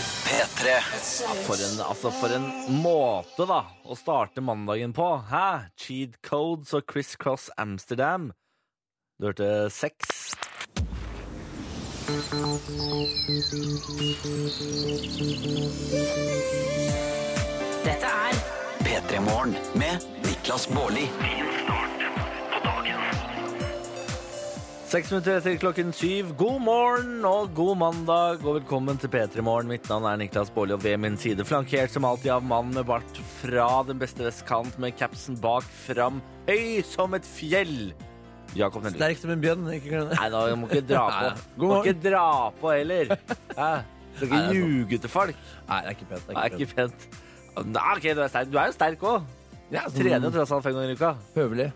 P3. For en, altså for en måte da, å starte mandagen på. Hæ? Cheat codes og crisscross Amsterdam. Du hørte sex. Dette er P3 Morgen med Niklas Baarli. Seks minutter etter klokken syv. God morgen og god mandag, og velkommen til P3 Morgen. Mitt navn er Niklas Baarli, og ved min side, flankert som alltid av mannen med bart fra den beste vestkant, med capsen bak fram, høy som et fjell. Jakob Nelvik. Sterk som en bjønn. Ikke glem det. Nei, da må ikke dra Nei, på. nei. God Må morgen. ikke dra på heller. Hæ? Du skal ikke Nei, det er ljuge til folk. Nei, det er ikke pent. Det er ikke pent. Nei, ok, du er sterk. Du er jo sterk òg. Ja, Trener jo tross alt fem ganger i uka. Høvelig.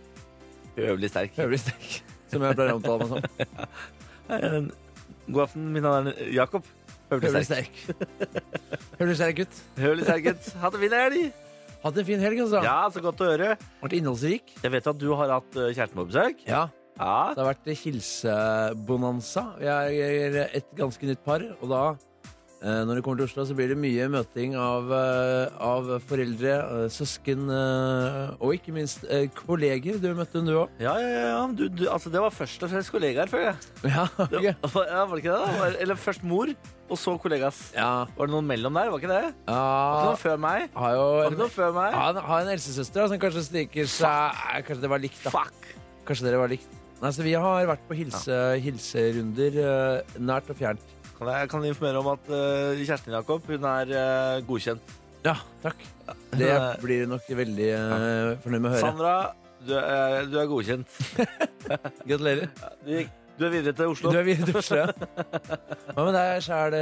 Øvelig sterk. Mm. Høvelig sterk. Som jeg pleier å omtale meg som. God aften, min navn er Jakob. Øvelig Høvelig sterk. sterk. Høvelig sterk gutt. Høvelig sterk, gutt. Hatt en fin helg. Hatt en fin helg, altså. Ja, så godt å høre. Vært innholdsrik. Jeg vet at du har hatt eh, kjæresten på besøk. Ja. Ja. Det har vært hilsebonanza. Jeg er et ganske nytt par, og da eh, når det kommer til Oslo, så blir det mye møting av, eh, av foreldre, eh, søsken eh, og ikke minst eh, kolleger. Du møtte hun, du òg. Ja, ja, ja. Du, du, altså, det var først og fremst kollegaer, føler jeg. Ja, Det, ok. ja, var det ikke det? da? Var- Eller først mor, og så kollegas. ja. Var det noen mellom der? Var ikke det? Var ikke ja. noen før meg? Har jo Var en ikke noen før meg? Ja, han har en helsesøster da, som kanskje stikker seg eh, Kanskje det var likt, da. Fuck! Kanskje dere var likt. Nei, så Vi har vært på hilse, hilserunder eh, nært og fjernt. Kan jeg kan jeg informere om at eh, kjæresten din, Jakob, hun er eh, godkjent. Ja, takk. Det blir du nok veldig eh, fornøyd med å høre. Sandra, du er, eh, du er godkjent. Gratulerer. Du, gikk- du er videre til Du Oslo. er videre til Oslo, ja. Hva med deg sjæl,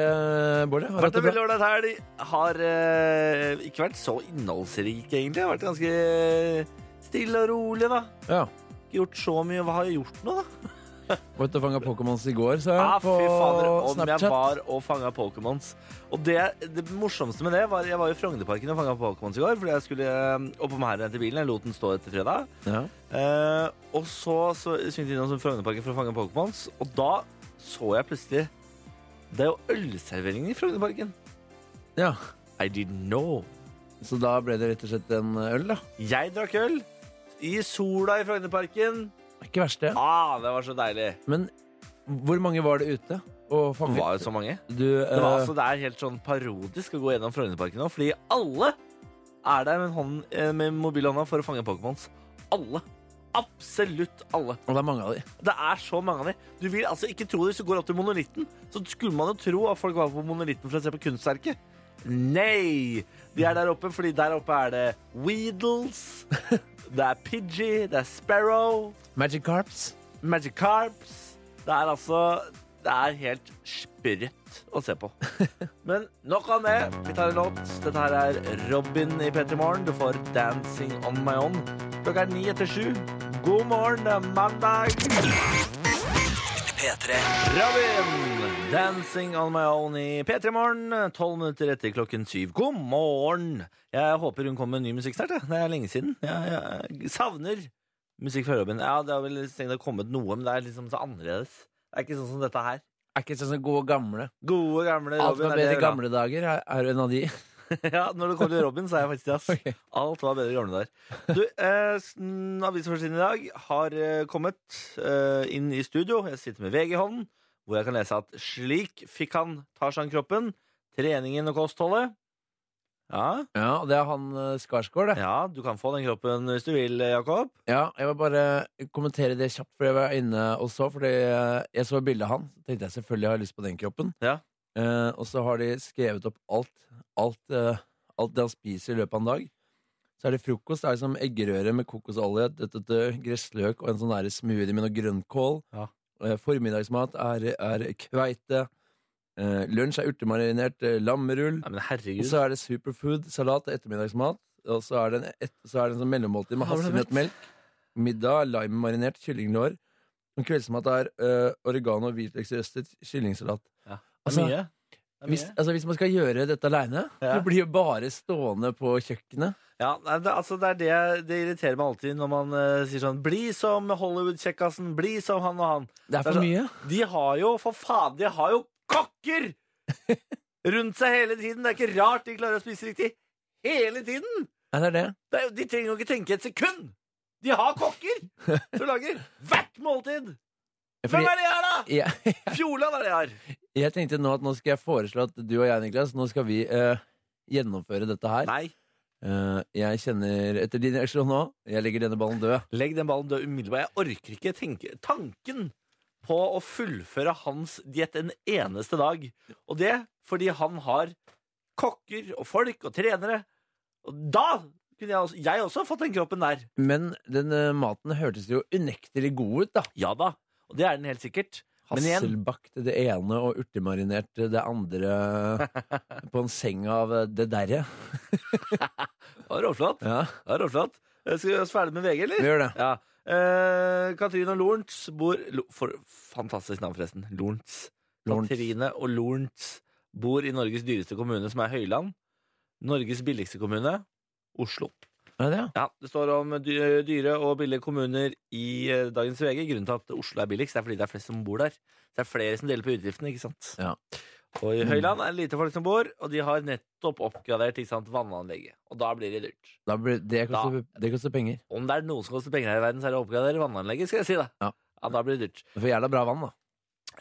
Bård? Har du Vært hatt en det bra? veldig ålreit helg. Har eh, ikke vært så innholdsrik, egentlig. Jeg har vært ganske eh, stille og rolig, da. Ja. Ikke gjort så mye. Hva har jeg gjort nå, da? Var ute og fanga Pokémons i går, så jeg, Ah, på fy fader, om jeg Snapchat. var og fanga Pokémons. Og det, det morsomste med det var Jeg var jo i Frognerparken og fanga Pokémons i går, fordi jeg skulle eh, opp om her og hente bilen. Jeg lot den stå etter fredag. Ja. Eh, og så, så svingte jeg innom Frognerparken for å fange Pokémons, og da så jeg plutselig Det er jo ølservering i Frognerparken. ja. I didn't know. Så da ble det rett og slett en øl, da. Jeg drakk øl i sola i Frognerparken. Det er Ikke verst, det. Ah, det var så deilig. Men hvor mange var det ute Det og fanget? var jo så mange. Du, Det, var, eh, altså, det er helt sånn parodisk å gå gjennom Frognerparken nå, fordi alle er der med, hånden, eh, med mobilhånda for å fange Pokémons. Alle. Absolutt alle. Og det er mange av de. Det er så mange av dem. Du vil altså ikke tro det hvis du går opp til Monolitten. Så skulle man jo tro at folk var på Monolitten for å se på kunstverket. Nei! De er der oppe fordi der oppe er det Weedles, det er Pidgey, det er Sparrow, Magic Carps. Magic Carps. Det er altså Det er helt sprøtt å se på. Men nok om det. Vi tar en låt. Dette her er Robin i P3 Morgen. Du får 'Dancing On My Own'. Klokka er ni etter sju. God morgen, det er mandag! P3. Robin, 'Dancing on my own' i P3 Morgen. Tolv minutter etter klokken syv. God morgen! Jeg håper hun kommer med ny musikk snart. jeg. Det er lenge siden. Jeg, jeg savner musikk fra Robin. Ja, Det har vel strengt tatt kommet noe, men det er liksom så annerledes. Det er ikke sånn som dette her. Er ikke sånn som gode gamle. Gode, gamle Alt Robin. var er det bedre i jeg vil ha. gamle dager, er- er en av de. Ja, Når det kommer til Robin, så er jeg faktisk det. ass. Ok. Alt var bedre i gamle dager. Du, eh, sn- Avisforsiden i dag har eh, kommet eh, inn i studio. Jeg sitter med VG i hånden, hvor jeg kan lese at slik fikk han Tarzan-kroppen, treningen og kostholdet. Ja, Ja, og det er han eh, Skarsgård, det. ja, du kan få den kroppen hvis du vil, eh, Jakob. Ja, jeg vil bare kommentere det kjapt, for jeg var inne og så, fordi eh, jeg så bildet av han. Så tenkte jeg selvfølgelig har jeg lyst på den kroppen. Ja. Eh, og så har de skrevet opp alt, alt, eh, alt det han spiser i løpet av en dag. Så er det frokost. Det er liksom eggerøre med kokosolje, dødt dødt dødt, gressløk og en sånn der smoothie med noe grønnkål. Ja. Eh, Formiddagsmat er, er kveite. Eh, lunsj er urtemarinert eh, lammerull. Nei, men Og herregud. så er det superfood, salat og ettermiddagsmat. Og så er det en, et, så er det en sånn mellommåltid med Har du det? hasselnøttmelk. Middag, lime-marinert kyllinglår. Og kveldsmat er øh, oregano og hvitløksrøstet kyllingsalat. Ja, det Altså, er mye. Det er hvis, mye. altså, hvis man skal gjøre dette aleine, Ja. det blir jo bare stående på kjøkkenet. Ja, nei, det, altså det er det det irriterer meg alltid når man eh, sier sånn Bli som Hollywood-kjekkasen. Bli som han og han. Det Det er er for så- mye. De har jo, for faen, de har jo kokker! rundt seg hele tiden. Det er ikke rart de klarer å spise riktig hele tiden. Nei, det er det. Det er, jo- de trenger jo ikke tenke et sekund. De har kokker som lager hvert måltid. Hvem er det her, da? jeg, Fjordland er det her. jeg tenkte nå at nå skal jeg foreslå at du og jeg, Niklas, nå skal vi eh, gjennomføre dette her. Nei. Eh, jeg kjenner etter din reaksjon nå Jeg legger denne ballen død. Legg den ballen død umiddelbart. Jeg orker ikke tenke tanken på å fullføre hans diett en eneste dag. Og det fordi han har kokker og folk og trenere. Og da kunne jeg også, jeg også fått den kroppen der. Men den eh, maten hørtes jo unektelig god ut, da. Ja da. Og det er den helt sikkert. Men igjen- Hasselbakt det ene og urtemarinert eh, det andre på en seng av eh, det derre. Det var råflott. Ja, Det var råflott. Eh, Skal vi gjøre oss ferdig med VG, vi eller? gjør det. Ja. Eh, Katrine og Lorentz bor Lo- for, Fantastisk navn, forresten. Lorentz. Lorentz. Katrine og Lorentz bor i Norges dyreste kommune, som er Høyland. Norges billigste kommune, Oslo. Ja, det, ja. Ja, Det står om dy- dyre og billige kommuner i eh, dagens VG. Grunnen til at Oslo er billigst, er fordi det er flest som bor der. Det er flere som deler på utgiftene, ikke sant. Ja. Og i Høyland er det lite folk som bor, og de har nettopp oppgradert ikke sant, vannanlegget. Og da blir det dyrt. Da blir, det, koster, det koster penger. Om det er noen som koster penger her i verden, så er det å oppgradere vannanlegget, skal jeg si. da. Ja. ja da blir det dyrt. Du får jævla bra vann, da.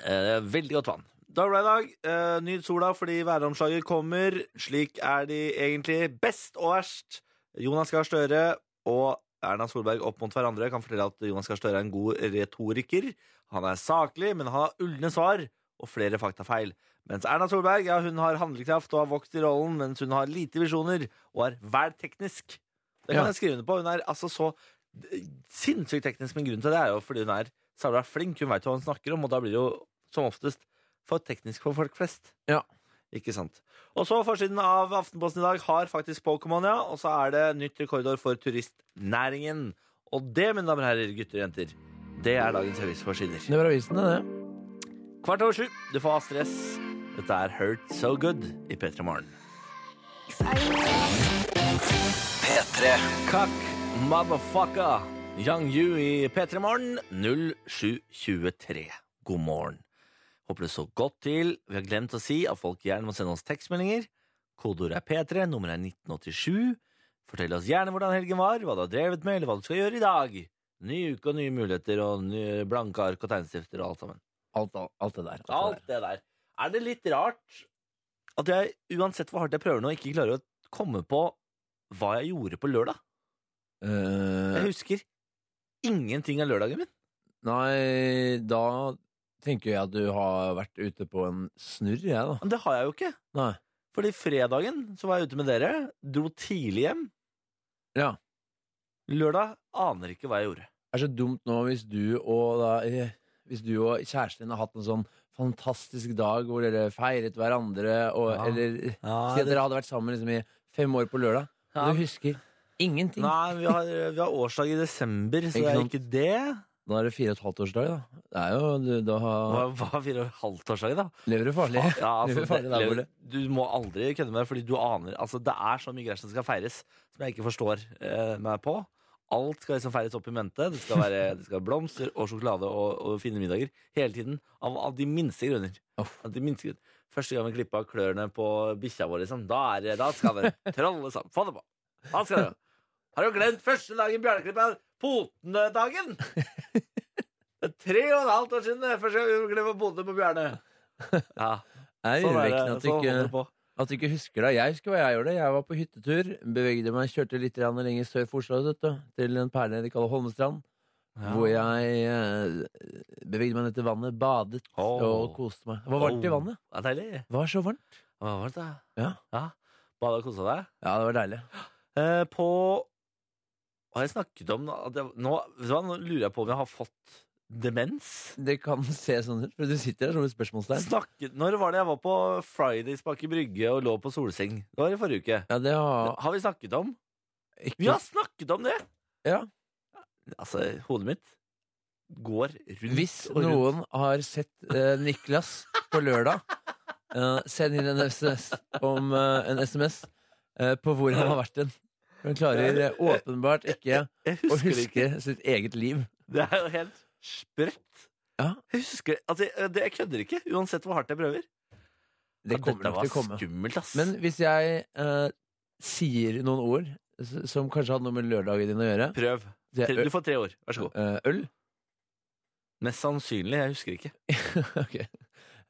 Eh, veldig godt vann. Dagbladet i dag, eh, nyt sola fordi væromslaget kommer. Slik er de egentlig best og verst. Jonas Gahr Støre og Erna Solberg opp mot hverandre kan fortelle at Jonas Gahr Støre er en god retoriker. Han er saklig, men han har ulne svar og flere faktafeil. Mens Erna Solberg ja, hun har handlekraft og har vokst i rollen, mens hun har lite visjoner og er vel teknisk. Det kan Ja. jeg skrive under på. Hun er altså så d- sinnssykt teknisk, men grunnen til det er jo fordi hun er Sabla er flink, hun veit hva hun snakker om, og da blir det jo som oftest for teknisk for folk flest. Ja. Ikke sant. Og så forsiden av Aftenposten i dag har faktisk Pokémon, ja. Og så er det nytt rekordår for turistnæringen. Og det, mine damer og herrer, gutter og jenter, det er dagens avisforsider. Det var avisene, det. Kvart over sju, du får Astrid S. Dette er Hurt So Good i P3 Morgen. P3 Kakk, motherfucker. Yang Yu i P3 Morgen 0723. God morgen. Håper det så godt til. Vi har glemt å si at folk gjerne må sende oss tekstmeldinger. Kodeordet er P3, nummeret er 1987. Fortell oss gjerne hvordan helgen var, hva du har drevet med, eller hva du skal gjøre i dag. Ny uke og nye muligheter og nye blanke ark og tegnestifter og alt sammen. Alt, alt, alt det der. Alt Alt Det det der. Er det litt rart at jeg, uansett hvor hardt jeg prøver nå, ikke klarer å komme på hva jeg gjorde på lørdag? der. Eh, Jeg husker ingenting av lørdagen min. Nei, da tenker jeg at du har vært ute på en snurr, jeg, da. Men det har jeg jo ikke. Nei. Fordi fredagen så var jeg ute med dere, dro tidlig hjem. Ja. Lørdag aner ikke hva jeg gjorde. Det er så dumt nå hvis du og, da, eh, hvis du og kjæresten din har hatt en sånn fantastisk dag hvor dere feiret hverandre, og, Ja. eller si at dere hadde vært sammen liksom, i fem år på lørdag, Ja. og du husker ingenting. Nei, vi har, vi har årsdag i desember, så Ikke det er sant? ikke det. Da er det fire og et halvt årsdag, da. Det er jo, du, da Hva har, var fire og et halvt årsdag, da? lever du farlig. Ja, altså, lever farlig der det, borte. du må aldri kødde med det, fordi du aner Altså, det er så mye greier som skal feires, som jeg ikke forstår eh, meg på. Alt skal liksom feires opp i mente. Det skal være det skal være blomster og sjokolade og, og fine middager hele tiden. Av, av de minste grunner. Uff. Av de minste grunner. Første gang vi klippa klørne på bikkja vår, liksom, da, er, det- da skal det trolle sammen. Få det på! Da skal det. Har du glemt første dagen bjørneklippa? Potene-dagen! Det er tre og et halvt år siden det er første gang vi klippa potene på Bjørne. Ja. Det er Sånn er urovekkende det. at, du Sånn holder det ikke- på. at du ikke husker det. Jeg husker hva jeg gjorde. Jeg var på hyttetur, bevegde meg, kjørte litt grann lenger sør for Oslo, vet du, til en perle de kaller Holmestrand. Hvor jeg eh, bevegde meg ned til vannet, badet Åh. og koste meg. Det var varmt i Oh. vannet. Ja, deilig. Det var så varmt. Hva var det? Ja. ja. Bada og kosa deg? Ja, det var deilig. Eh, på Hva har jeg snakket om? At jeg, nå, vet du hva, nå lurer jeg på om jeg har fått demens. Det kan se sånn ut, for du sitter der som et spørsmålstegn. Snakket, når var det jeg var på Fridays bak i Brygge og lå på solseng? Det var i forrige uke. Ja, det har Har vi snakket om? ikke Vi har snakket om det! Ja. Altså, hodet mitt går rundt Hvis og rundt. noen har sett eh, Niklas på lørdag, eh, send inn en SMS om eh, en SMS eh, på hvor han har vært hen. Han klarer eh, åpenbart ikke Jeg å husker det ikke. huske sitt eget liv. Det er jo helt sprøtt. Ja. Jeg husker altså, jeg, det, jeg kødder ikke, uansett hvor hardt jeg prøver. Det Ja, kommer Dette nok var til å komme. skummelt, ass. Men hvis jeg eh, sier noen ord s- som kanskje hadde noe med lørdagen din å gjøre Prøv. det er Tre- Du får tre år. Vær så god. eh, Øl? Mest sannsynlig. Jeg husker ikke. ok.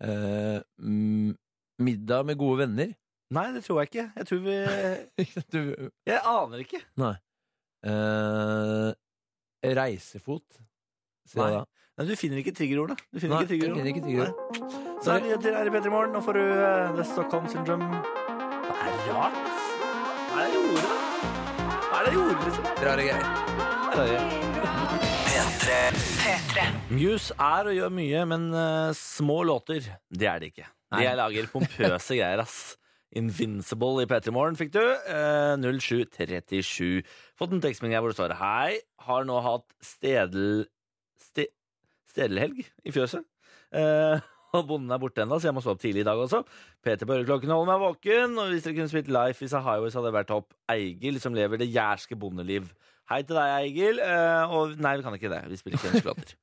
Eh, mm, middag med gode venner? Nei, det tror jeg ikke. Jeg tror vi du, Jeg aner ikke. eh, reisefot? Sier jeg Nei, da. Nei, du finner ikke triggerordene. Du finner Nei, ikke triggerordene. jeg finner ikke triggerord. Nei. Så er det nyheter her i Petter Morgen. Nå får du eh, The Stockholm Syndrome. Det er rart, ass. Hva er det jeg gjorde, da? Hva er det jeg gjorde, liksom? Rare greier. Muse er og gjør mye, men eh, små låter, det er det ikke. De Nei. jeg lager pompøse greier, ass. Invincible i P3 Morgen fikk du. Eh, 0737. Fått en tekstmelding her hvor det står Hei, har nå hatt stedel... Ste, stedelhelg i fjøset. Eh, og bonden er borte ennå, så jeg må stå opp tidlig i dag også. Peter på øreklokken holder meg våken, og hvis dere kunne spilt Life is a Highway, så hadde det vært opp Eigil, som lever det jærske bondeliv. Hei til deg, Eigil. Eh, og nei, vi kan ikke det. Vi spiller ikke ønskelåter.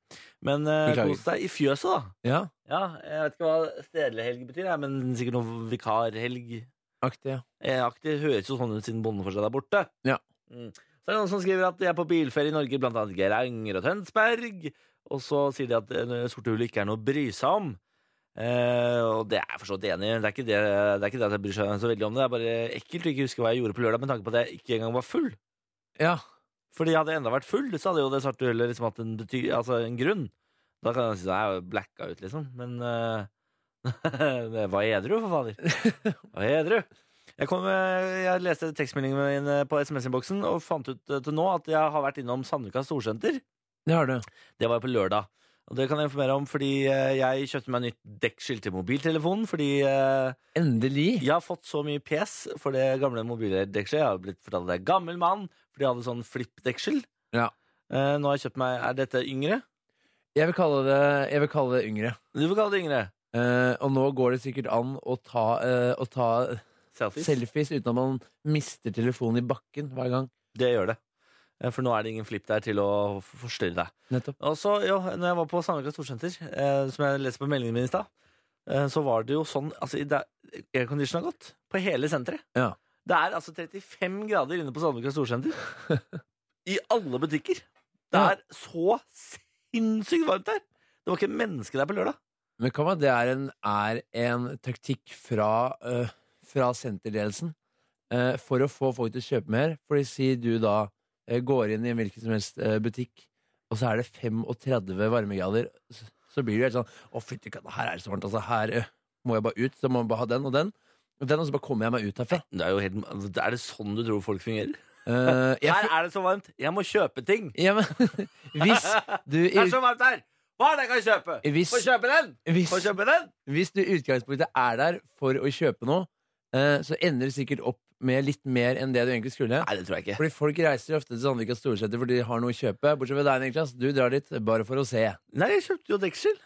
Men eh, Beklager. kos deg i fjøset, da. Ja, Ja, jeg vet ikke hva stedlig helg betyr, jeg, men sikkert noe vikarhelg. aktig. ja. Eh, Aktig høres jo sånn ut siden bonden fortsatt er borte. Ja. Mm. Så er det noen som skriver at de er på bilferie i Norge, blant annet Geranger og Tønsberg. Og så sier de at eh, sorte hull ikke er noe å bry seg om. Eh, og det er jeg forstått enig i. Det, er ikke det det er ikke det at jeg bryr seg så veldig om det. Det er bare ekkelt å ikke huske hva jeg gjorde på lørdag, med tanke på at jeg ikke engang var full. ja. Fordi hadde jeg enda vært full, så hadde jo det svarte hullet liksom hatt en, bety altså en grunn. Da kan jeg si at jeg blacka ut, liksom. Men eh, det var edru, for fader. Jeg Var edru. Jeg, kom, eh, jeg leste tekstmeldingen min eh, på SMS-innboksen og fant ut eh, til nå at jeg har vært innom Sandvika Storsenter. Det har du. Det var på lørdag. Og det kan jeg informere om fordi eh, jeg kjøpte meg nytt dekkskilt til mobiltelefonen. Fordi eh, Endelig. jeg har fått så mye pes for det gamle mobildekselet. Jeg har blitt fortalt at jeg er gammel mann, for de hadde sånn flippdeksel. Ja. Eh, nå har jeg kjøpt meg Er dette yngre? Jeg vil kalle det, jeg vil kalle det yngre. Du får kalle det yngre. Eh, og nå går det sikkert an å ta, eh, å ta Selfies. selfies uten at man mister telefonen i bakken hver gang. Det gjør det. Eh, For nå er det ingen flipp der til å f- forstyrre deg. Nettopp. Og så, jo, når jeg var på Sandvika Storsenter, eh, som jeg leste på meldingen min i stad, eh, så var det jo sånn altså, i det- Aircondition har gått på hele senteret. Ja. Det er altså 35 grader inne på Sandvika Storsenter. I alle butikker. Det Ja. er så sinnssykt varmt der! Det var ikke et menneske der på lørdag. Men kan man, det er en, er en taktikk fra, eh, fra senterledelsen eh, for å få folk til å kjøpe mer. Fordi si du da eh, går inn i en hvilken som helst eh, butikk, og så er det 35 varmegrader, så, så blir du helt sånn Å, fytti katta, her er det så varmt. Altså, her eh, må jeg bare ut. Så må jeg bare ha den og den. Og den, og så bare kommer jeg meg ut herfra. Det er, jo helt, er det sånn du tror folk fungerer? Eh, jeg, Her er det så varmt! Jeg må kjøpe ting! ja, men, hvis du Det er så varmt her! Hva er det jeg kan kjøpe? Hvis- Få kjøpe den! hvis, Få kjøpe den! hvis du i utgangspunktet er der for å kjøpe noe, eh, så ender du sikkert opp med litt mer enn det du egentlig skulle. Nei, det tror jeg ikke. Fordi folk reiser ofte til Sandvika Storsenter fordi de har noe å kjøpe. Bortsett fra deg, Niklas. Du drar dit bare for å se. Nei, jeg kjøpte jo deksel.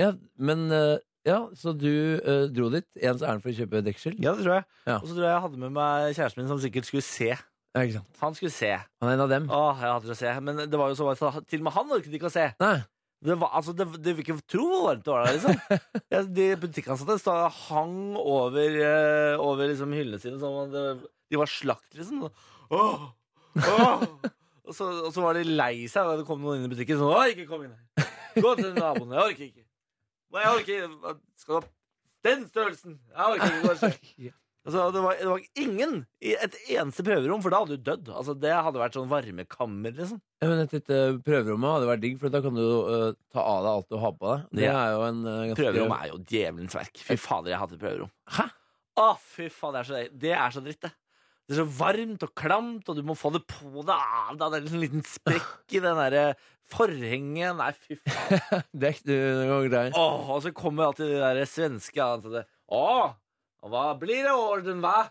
Ja, men eh, Ja, så du eh, dro dit ens ærend for å kjøpe deksel? Ja, det tror jeg. Ja. Og så tror jeg jeg hadde med meg kjæresten min, som sikkert skulle se. Ja, ikke sant. Han skulle se. Han er en av dem. Åh, jeg hadde det å se. Men det var jo så varmt, at til og med han orket ikke å se. Nei. Det var, altså, det, du vil ikke tro hvor varmt det var der, liksom. Jeg, de butikkansatte stod, hang over, eh, over liksom, hyllene sine som om det, de var slakt, liksom. Åh, åh. Og, så, og så var de lei seg da det kom noen inn i butikken. Sånn, åh, ikke kom inn her. Gå til naboen. Jeg orker ikke. Nei, Jeg orker ikke. Skal du ha den størrelsen? Jeg orker ikke. gå og se.» Altså, det, var, det var ingen i et eneste prøverom, for da hadde du dødd. Altså, det hadde vært sånn varmekammer, liksom. Ja, men et lite prøverommet hadde vært digg, for da kan du eh, ta av deg alt du har på deg. Det Ja. er jo en eh, ganske Prøverom er jo djevelens verk. Fy fader, jeg hadde prøverom. Hæ? Å, fy faen, det er så, det er så dritt, det. Det er så varmt og klamt, og du må få det på deg av deg. Det er en liten sprekk i den der forhenget. Nei, fy faen. Det er ikke du noe grei. Åh, og så kommer alltid de der svenske ansatte. Å, hva blir det orden, hva?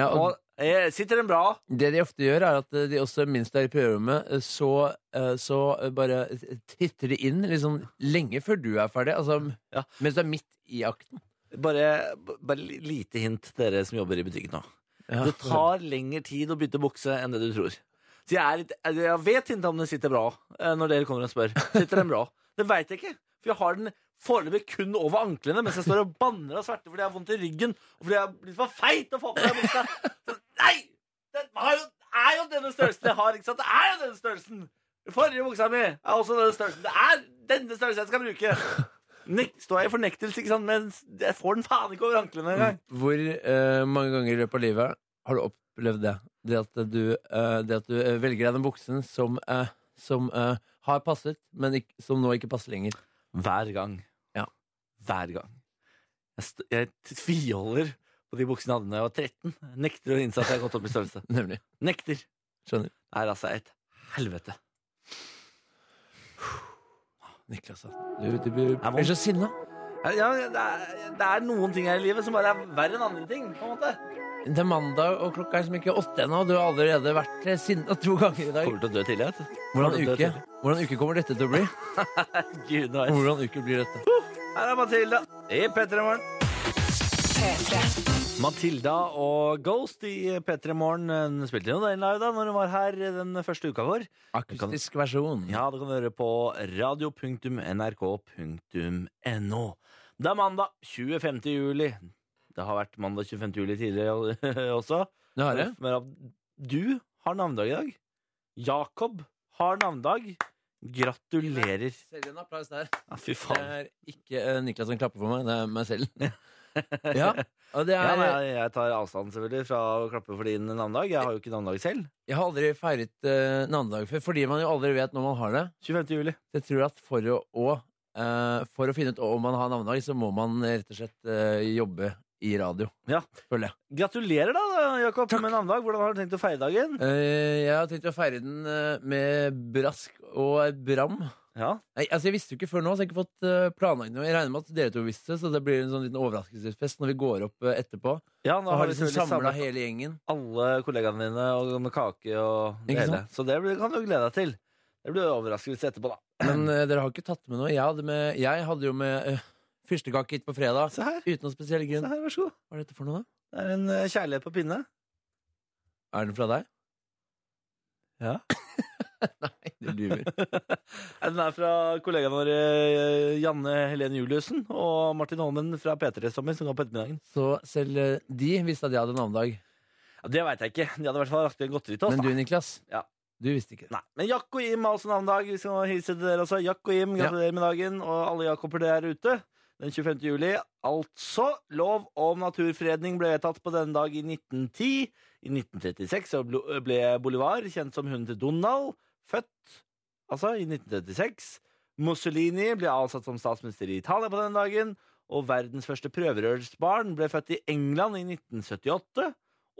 Ja, Å, og eh, sitter den bra? det de ofte gjør, er at eh, de også minst er i prøverommet, eh, så, eh, så eh, bare titter de inn liksom, lenge før du er ferdig. Altså, Ja. Mens du er midt i akten. Bare, bare li- lite hint til dere som jobber i butikken nå. Ja. Det tar lengre tid å bytte bukse enn det du tror. Så jeg, er litt, jeg vet ikke om den sitter bra eh, når dere kommer og spør. Sitter den bra? Det veit jeg ikke. For jeg har den foreløpig kun over anklene mens jeg står og banner av sverte fordi jeg har vondt i ryggen og fordi jeg er blitt for feit og får på meg buksa. Så, Nei! Det er jo, er jo denne størrelsen jeg har, ikke sant? Det er jo denne størrelsen! Forrige buksa mi er også denne størrelsen. Det er denne størrelsen jeg skal bruke. Nek står jeg i fornektelse, ikke sant? men jeg får den faen ikke over anklene engang. Hvor eh, mange ganger i løpet av livet har du opplevd det? Det at du, eh, det at du eh, velger deg den buksen som, eh, som eh, har passet, men ikk- som nå ikke passer lenger. Hver gang. Ja. Hver gang. Jeg, st jeg tviholder på de buksene jeg hadde da jeg var 13. Jeg nekter å innse at jeg har gått opp i størrelse. Nemlig. Nekter. Skjønner. Det er altså et helvete. Niklas, altså. da. du, du blir vondt. blir så sinna. Ja, det, er, det er noen ting her i livet som bare er verre enn andre ting. på en måte. Det er mandag, og klokka er som ikke åtte ennå. og Du har allerede vært eh, sinna to ganger i dag. Kommer til å dø tidlig. vet du. Hvordan Kommer til å dø uke, hvordan uke kommer dette til å bli? tidlig. Gud, nå er jeg- Hvordan uke blir dette? Her er Matilda i P3 Morgen. Matilda og Ghost i P3 Morgen Hun spilte jo den live da når hun var her den første uka vår. Akustisk versjon. Ja, det kan du høre på radio.nrk.no. Det er mandag 25. juli. Det har vært mandag 25. juli tidligere også. Det har jeg. Men du har navnedag i dag. Jakob har navnedag. Gratulerer. Selv en applaus der. Ja, fy Det faen. er ikke eh, Niklas som klapper for meg, det er meg selv. Ja, og det Eh, Ja, er, eh, nei, jeg tar avstand selvfølgelig fra å klappe for din navnedag. Jeg har jo ikke navnedag selv. Jeg har aldri feiret uh, navnedag før, fordi man jo aldri vet når man har det. 25. juli. Så jeg tror at for å, å, eh, for å finne ut om man har navnedag, så må man rett og slett eh, jobbe i radio. Ja. Føler jeg. Gratulerer da, Jakob, med navnedag. Hvordan har du tenkt å feire dagen? Eh, jeg har tenkt å feire den eh, med brask og bram. Ja, Nei, altså Jeg visste jo ikke før nå, så jeg har ikke fått eh, planlagt noe. Jeg regner med at dere to visste det, så det blir en sånn liten overraskelsesfest når vi går opp eh, etterpå. ja nå Da har har vi liksom selvfølgelig samla samlet hele gjengen. alle kollegaene dine og med kake og det Ikke hele. Så det blir- kan du glede deg til. Det blir overraskelse etterpå, da. Men eh, dere har ikke tatt med noe. Jeg hadde, med, jeg hadde jo med eh, fyrstekake hit på fredag. Se her, Uten noen spesiell se grunn. her, vær så god. Hva er dette for noe, da? Det er en eh, kjærlighet på pinne. Er den fra deg? Ja. Nei, du lyver. Nei, Den er fra kollegaene våre eh, Janne Helene Juliussen og Martin Holmen fra P3 Sommer, som går på ettermiddagen. Så selv eh, de visste at jeg hadde navnedag. Ja, det veit jeg ikke. De hadde i hvert fall rakt en godteri til oss. Men du, da. Niklas, Ja. du visste ikke det. Nei, Men Jack og altså, Im har også navnedag. Vi skal hilse til dere også. Jack og Im, Ja. gratulerer med dagen. Og alle Jakober der ute. Den 25. juli. Altså, lov om naturfredning ble vedtatt på denne dag i 1910. I 1936 så blo- ble Bolivar, kjent som hunden til Donald, født. Altså, i 1936. Mussolini ble avsatt som statsminister i Italia på denne dagen. Og verdens første prøverørsbarn ble født i England i 1978.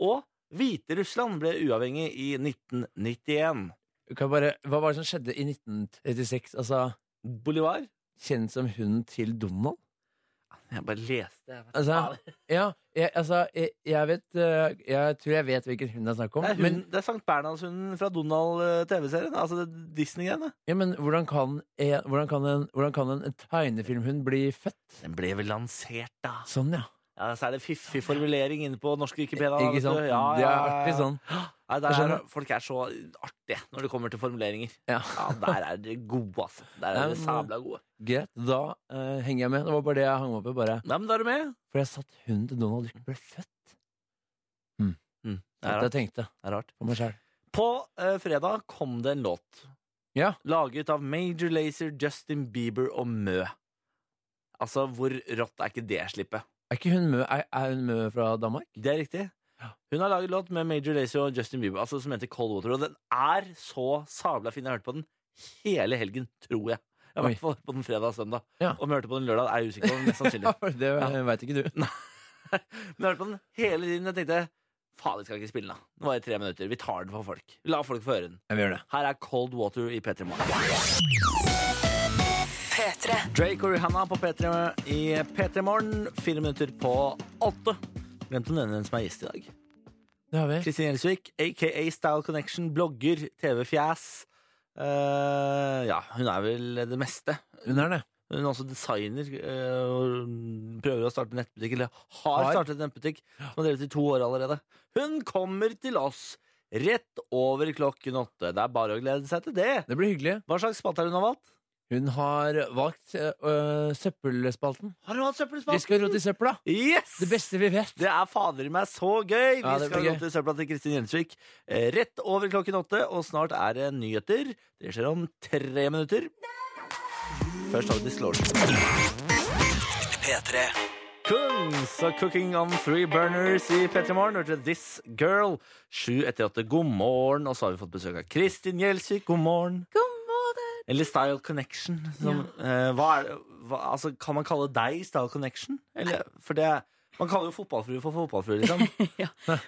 Og Hviterussland ble uavhengig i 1991. Kan jeg bare, hva var det som skjedde i 1936? Altså, Bolivar? Kjent som hunden til Donald? Jeg bare leste. Jeg vet Altså, ikke. Ja, jeg, altså, jeg, jeg vet eh, Jeg tror jeg vet hvilken hund det er snakk om. det er, Men, hunden, det er Sankt Bernhardshunden fra Donald-TV-serien. Altså det- Disney-greiene. ja, men hvordan kan, en, hvordan kan, en, hvordan kan en, en tegnefilmhund bli født? Den ble vel lansert, da. Sånn, ja. Ja, Så er det fiffig formulering inne på norsk Wikipedia. da, Ikke vet du. sant? Ja, Det er ja, ja. artig sånn. Nei, der, Jeg er- skjønner. folk er så artige når det kommer til formuleringer. Ja. Ja, Der er dere gode, altså. Der er Nei, dere men- sabla gode. Greit, da eh, henger jeg med. Det var bare det jeg hang opp i. Bare. Nei, men Da er du med. For jeg satt hunden til Donald Duck ble født. Mm, det er Det var det rart. jeg tenkte Det er rart. på meg selv På eh, fredag kom det en låt. Ja. Laget av Major Lazer, Justin Bieber og Mø. Altså, hvor rått er ikke det slippet? Er ikke hun mø, er, er hun mø fra Danmark? Det er riktig. Ja. Hun har laget låt med Major Lazer og Justin Bieber, altså som heter Cold Water. Og den er så sabla fin. Jeg har hørt på den hele helgen, tror jeg. Jeg har i Oi. hvert fall hørt på den fredag og søndag. Ja. Om jeg hørte på den lørdag, er jeg usikker på. men Mest sannsynlig. Ja, for det ja. veit ikke du. Men jeg hørte på den hele tiden. Jeg tenkte faen, vi skal ikke spille den, da. Nå var det tre minutter. Vi tar den for folk. La folk få høre den. Jeg vil gjøre det. Her er Cold Water i P3 Morgen. Drake og Rihanna på P3 i P3 Morgen. Fire minutter på åtte. Glemte å nevne hvem som er gjest i dag. Det har vi. Kristin Gjelsvik, aka Style Connection, blogger, TV-fjas. Eh, ja, hun er vel det meste. Hun er det. Hun er også designer eh, og prøver å starte nettbutikk, eller har, Har. startet nettbutikk, som har drevet i to år allerede. Hun kommer til oss rett over klokken åtte. Det er bare å glede seg til det. Det blir hyggelig. Hva slags spalte har hun valgt? Hun har valgt eh, øh, søppelspalten. Har du hatt Vi søppelspalt? skal rote i søpla! Yes! Det beste vi vet. Det er fader meg så gøy! Vi Ja, det blir skal gå gøy. til søpla til Kristin Gjelsvik eh, rett over klokken åtte, og snart er det nyheter. Det skjer om tre minutter. Først har vi Distortion. P3 Kungs og Cooking on Three Burners i P3 Morgen. Hørte This Girl. Sju etter åtte. God morgen. Og så har vi fått besøk av Kristin Gjelsvik. God morgen. God morgen! Eller Style Connection. Som, eh, hva er, hva, altså, kan man kalle deg Style Connection? Eller, for det, man kaller jo fotballfrue for fotballfrue, liksom.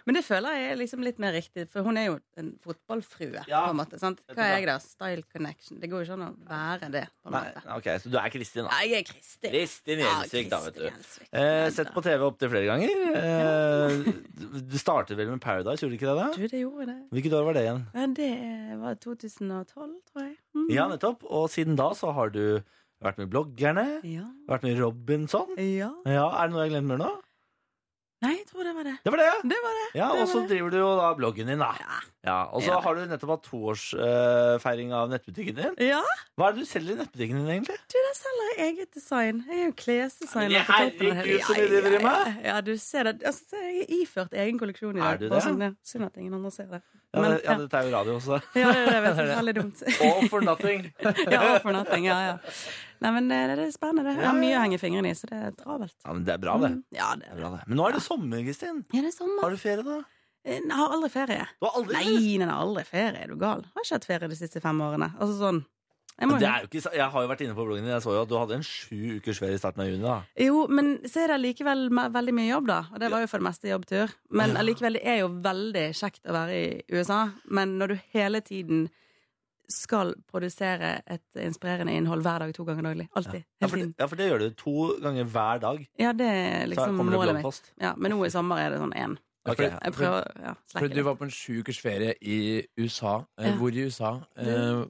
Men det føler jeg er liksom litt mer riktig, for hun er jo en fotballfrue. Ja. på en måte, sant? Vet du Hva er hva? jeg, da? Style connection. Det går jo ikke an å være det. på en Nei, måte. ok, Så du er Kristin, da. Nei, jeg er Kristin. Kristin Gjelsvik, da, vet du. Eh, Eh, sett på TV opptil flere ganger. Eh, du- du startet vel med Paradise, gjorde du ikke det? da? Du, det gjorde det. Hvilket år var det igjen? Men det var 2012, tror jeg. Mm. Ja, nettopp. Og siden da så har du vært med Bloggerne, ja. vært med Robinson. Ja. Ja, Er det noe jeg glemmer nå? Nei, jeg tror det var det. Det var det! Det var det. Ja, det Og var så det. driver du jo da bloggen din, da. Ja. Ja, Og det så gjør har du nettopp hatt toårsfeiring av nettbutikken din. Ja, Hva er det du selger i nettbutikken din, egentlig? du, der selger jeg eget design. Jeg er jo klesdesigner. Ja, men på toppen av herregud, hele- så mye du driver med. Ja, ja, ja, du ser det. Altså, så er jeg iført egen kolleksjon i Er dag. du bare det? sånn, ja. Synd at ingen andre ser det. Ja, Men, det, ja, dette er jo radio også. Ja, det er det, vet du. Veldig dumt. All for nothing. ja, all for nothing. Ja, ja. Nei, men det, det er spennende. det. Jeg har mye å henge fingrene i, så det er travelt. Ja, men Det er bra, det. Mm. Ja, det det, er er det. bra, det. Men nå er det sommer, Kristin. Ja, det er sånn, sommer. Har du ferie, da? Jeg har aldri ferie. Du har aldri Nei, nei, aldri ferie. Er du gal? Jeg har ikke hatt ferie de siste fem årene. Altså sånn. Jeg Men må jo- Det er jo ikke, sa- jeg har jo vært inne på bloggen din. Jeg så jo at du hadde en sju ukers ferie i starten av juni. da Jo, men så er det allikevel me- veldig mye jobb, da. Og det var jo for det meste jobbtur. Men allikevel, det er jo veldig kjekt å være i USA. Men når du hele tiden skal produsere et inspirerende innhold hver dag to ganger daglig. Alltid. Ja Hele for, det, tiden. ja, for det gjør du to ganger hver dag. Ja, det er Så liksom her kommer det målet mitt. bloggpost. Ja, men nå i sommer er det sånn én. Ok, Ja, for- Jeg prøver ja, For slekke du litt. var på en sju ukers ferie i USA. Eh, Ja. Hvor i USA? Eh, Det-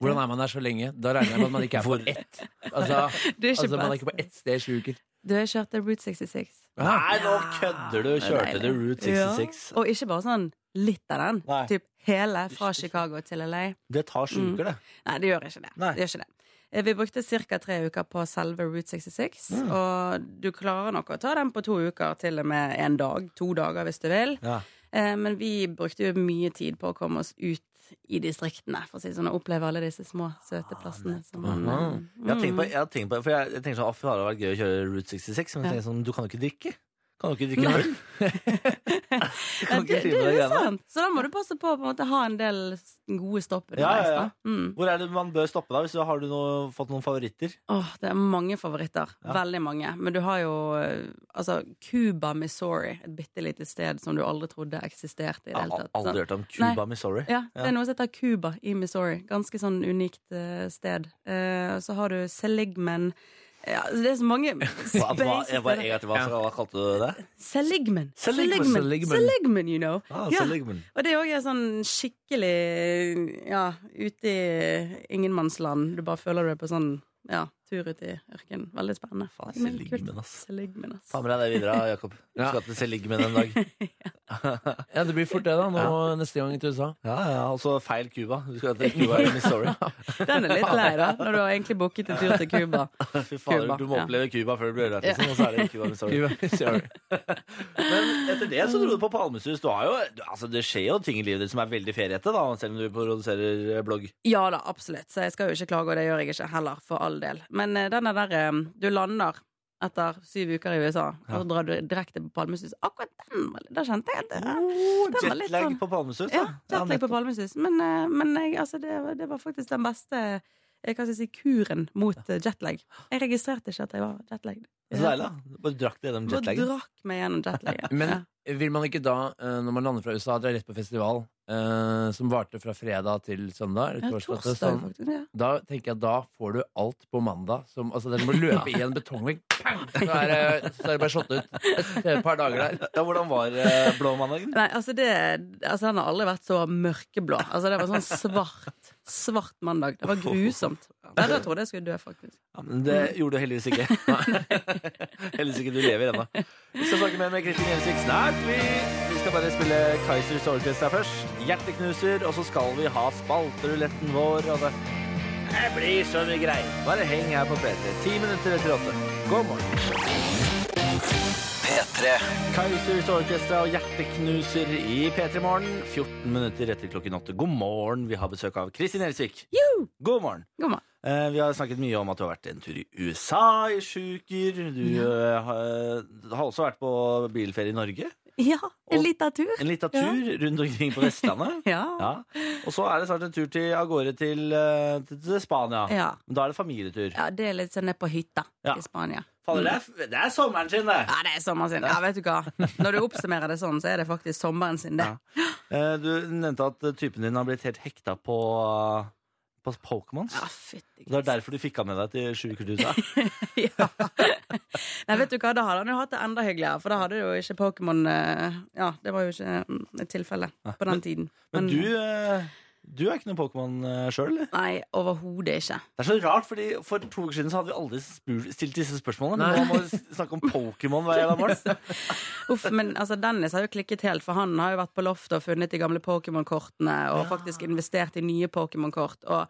hvordan er man der så lenge? Da regner jeg med at man ikke er på Hvor- ett. Altså, Du er ikke altså man er best. ikke på ett sted i sju uker. Du har kjørt Route 66. Nei, nå kødder du! Kjørte du Route 66? Ja. Og ikke bare sånn litt av den. Nei. Typ hele fra Chicago til LA. Det tar sju Mm. uker, det. Nei, det gjør ikke det. Nei. Det gjør ikke det. Eh, Vi brukte ca. tre uker på selve Route 66. Og du klarer nok å ta den på to uker, til og med en dag. To dager, hvis du vil. Ja. Eh, Men vi brukte jo mye tid på å komme oss ut i distriktene, for å si det sånn, og oppleve alle disse små, Ah, søte plassene. Som man, Jeg har tenkt på, jeg har tenkt på for jeg, jeg tenker sånn, «Å, fy, det hadde vært gøy å kjøre Route 66, men jeg tenker sånn, du kan jo ikke drikke. Kan jo ikke drikke Nei. øl. Du kan det, ikke drive med de det er jo greiene. sant. Sånn. Så da må du passe på å på en måte, ha en del s- gode stopp Ja, ja, underveis. ja. da. Mm. Hvor er det man bør stoppe da? Hvis du har du noe, fått noen favoritter? Åh, det er mange favoritter. Veldig mange. Men du har jo eh, altså Cuba, Missouri. Et bitte lite sted som du aldri trodde eksisterte i det Jeg hele har tatt. aldri Sånn. hørt om Cuba, Missouri. Ja, det er noe som heter Cuba i Missouri. Ganske sånn unikt eh, sted. Eh, så har du Seligman ja, altså, Det er så mange Hva, hva, space jeg bare en gang til, hva, hva kalte du det? Seligman. Seligman. Seligman. Seligman, you know. Ah, Ja. Seligman. Og det òg er også sånn skikkelig ja, ute i ingenmannsland. Du bare føler du er på sånn ja, tur ut i ørkenen. Veldig spennende. Faen, Men kult. Seligman, ass. Seligman, ass. Ta med deg det videre, Jakob. Du Ja. skal til Seligman en dag. Ja, det blir fort det, da. Nå, Neste gang til USA. Ja, ja, altså feil Cuba. Du skal til Cuba i Missouri. Den er litt lei, da, når du har egentlig booket en tur til Cuba. Fy fader, Cuba, du må ja. oppleve Cuba før du blir ødelagt, liksom. Og så er det Cuba, Missouri. Sorry. Men etter det så dro du på Palmesus. Du har jo, du- altså, det skjer jo ting i livet ditt som er veldig feriete, da, selv om du produserer eh, blogg. Ja da, absolutt. Så jeg skal jo ikke klage, og det gjør jeg ikke heller, for all del. Men eh, den er der eh, du lander etter syv uker i USA, og så drar du direkte på Palmesus. Akkurat den var litt- Da kjente jeg at det, den var litt Jetlag sånn på Palmesus, Ja, da. jetlag på nettopp. Palmesus. Men, eh, men jeg, altså, det, var- det var faktisk den beste eh, hva skal jeg si, kuren mot eh, jetlag. Jeg registrerte ikke at jeg var jetlagd. Så deilig, da. Bare drakk det gjennom Og jetlagen. drakk meg gjennom jetlagen. ja. Men vil man ikke da, eh, når man lander fra USA, dra rett på festival, eh, som varte fra fredag til søndag? eller Ja, torsdag sånn. til torsdag, søndag, faktisk. Ja. Da tenker jeg da får du alt på mandag. Som, altså, den må løpe i en betongvegg. Pang! Så er det så er det bare slått ut et et par dager der. Ja, hvordan var eh, blå mandagen? Nei, altså, det, altså Den har aldri vært så mørkeblå. Altså Det var sånn svart svart mandag. Det var grusomt. Nei, Da trodde jeg skulle dø, faktisk. Ja, men det gjorde du heldigvis ikke. heldigvis ikke du lever ennå. Vi skal snakke mer med Kristin Gjelsvik snart. Vi, vi skal bare spille Kaizers Orchestra først. Hjerteknuser, og så skal vi ha spalteruletten vår. Og det. Det blir så mye greier. Bare heng her på P3. Ti minutter etter åtte. God morgen. P3. Kaizers Orkestra og Hjerteknuser i P3 Morgen. 14 minutter etter klokken åtte. God morgen. Vi har besøk av Kristin Elsvik. God morgen. God morgen. Eh, Vi har snakket mye om at du har vært en tur i USA i sju uker. Du eh, har- har også vært på bilferie i Norge. Ja, en Og- liten tur. En liten tur rundt omkring på Vestlandet. Ja. Ja. Og så er det snart en tur til, av gårde til, eh, til, til Spania. Ja. Men da er det familietur. ja, det er litt sånn ned på hytta Ja. i Spania. Fader, det er, det er sommeren sin, det! Ja, det er sommeren sin. Ja, vet du hva. Når du oppsummerer det sånn, så er det faktisk sommeren sin, det. Ja. Eh, Du nevnte at eh, typen din har blitt helt hekta på, eh, på Pokémons. Ja, fytti Det er derfor du fikk han med deg til sju uker til USA. ja. Nei, vet du hva, da hadde han jo hatt det enda hyggeligere, for da hadde det jo ikke Pokémon eh, Ja, det var jo ikke mm, et tilfelle på den tiden. Men du, eh, du er ikke noen Pokémon eh, sjøl, eller? Nei, overhodet ikke. Det er så rart, fordi For to uker siden så hadde vi aldri spurt, stilt disse spørsmålene. Nei. Men nå må vi s- snakke om Pokémon hver jævla morgen. Uff, men altså, Dennis har jo klikket helt, for han har jo vært på loftet og funnet de gamle Pokémon-kortene, og faktisk investert i nye Pokémon-kort. Og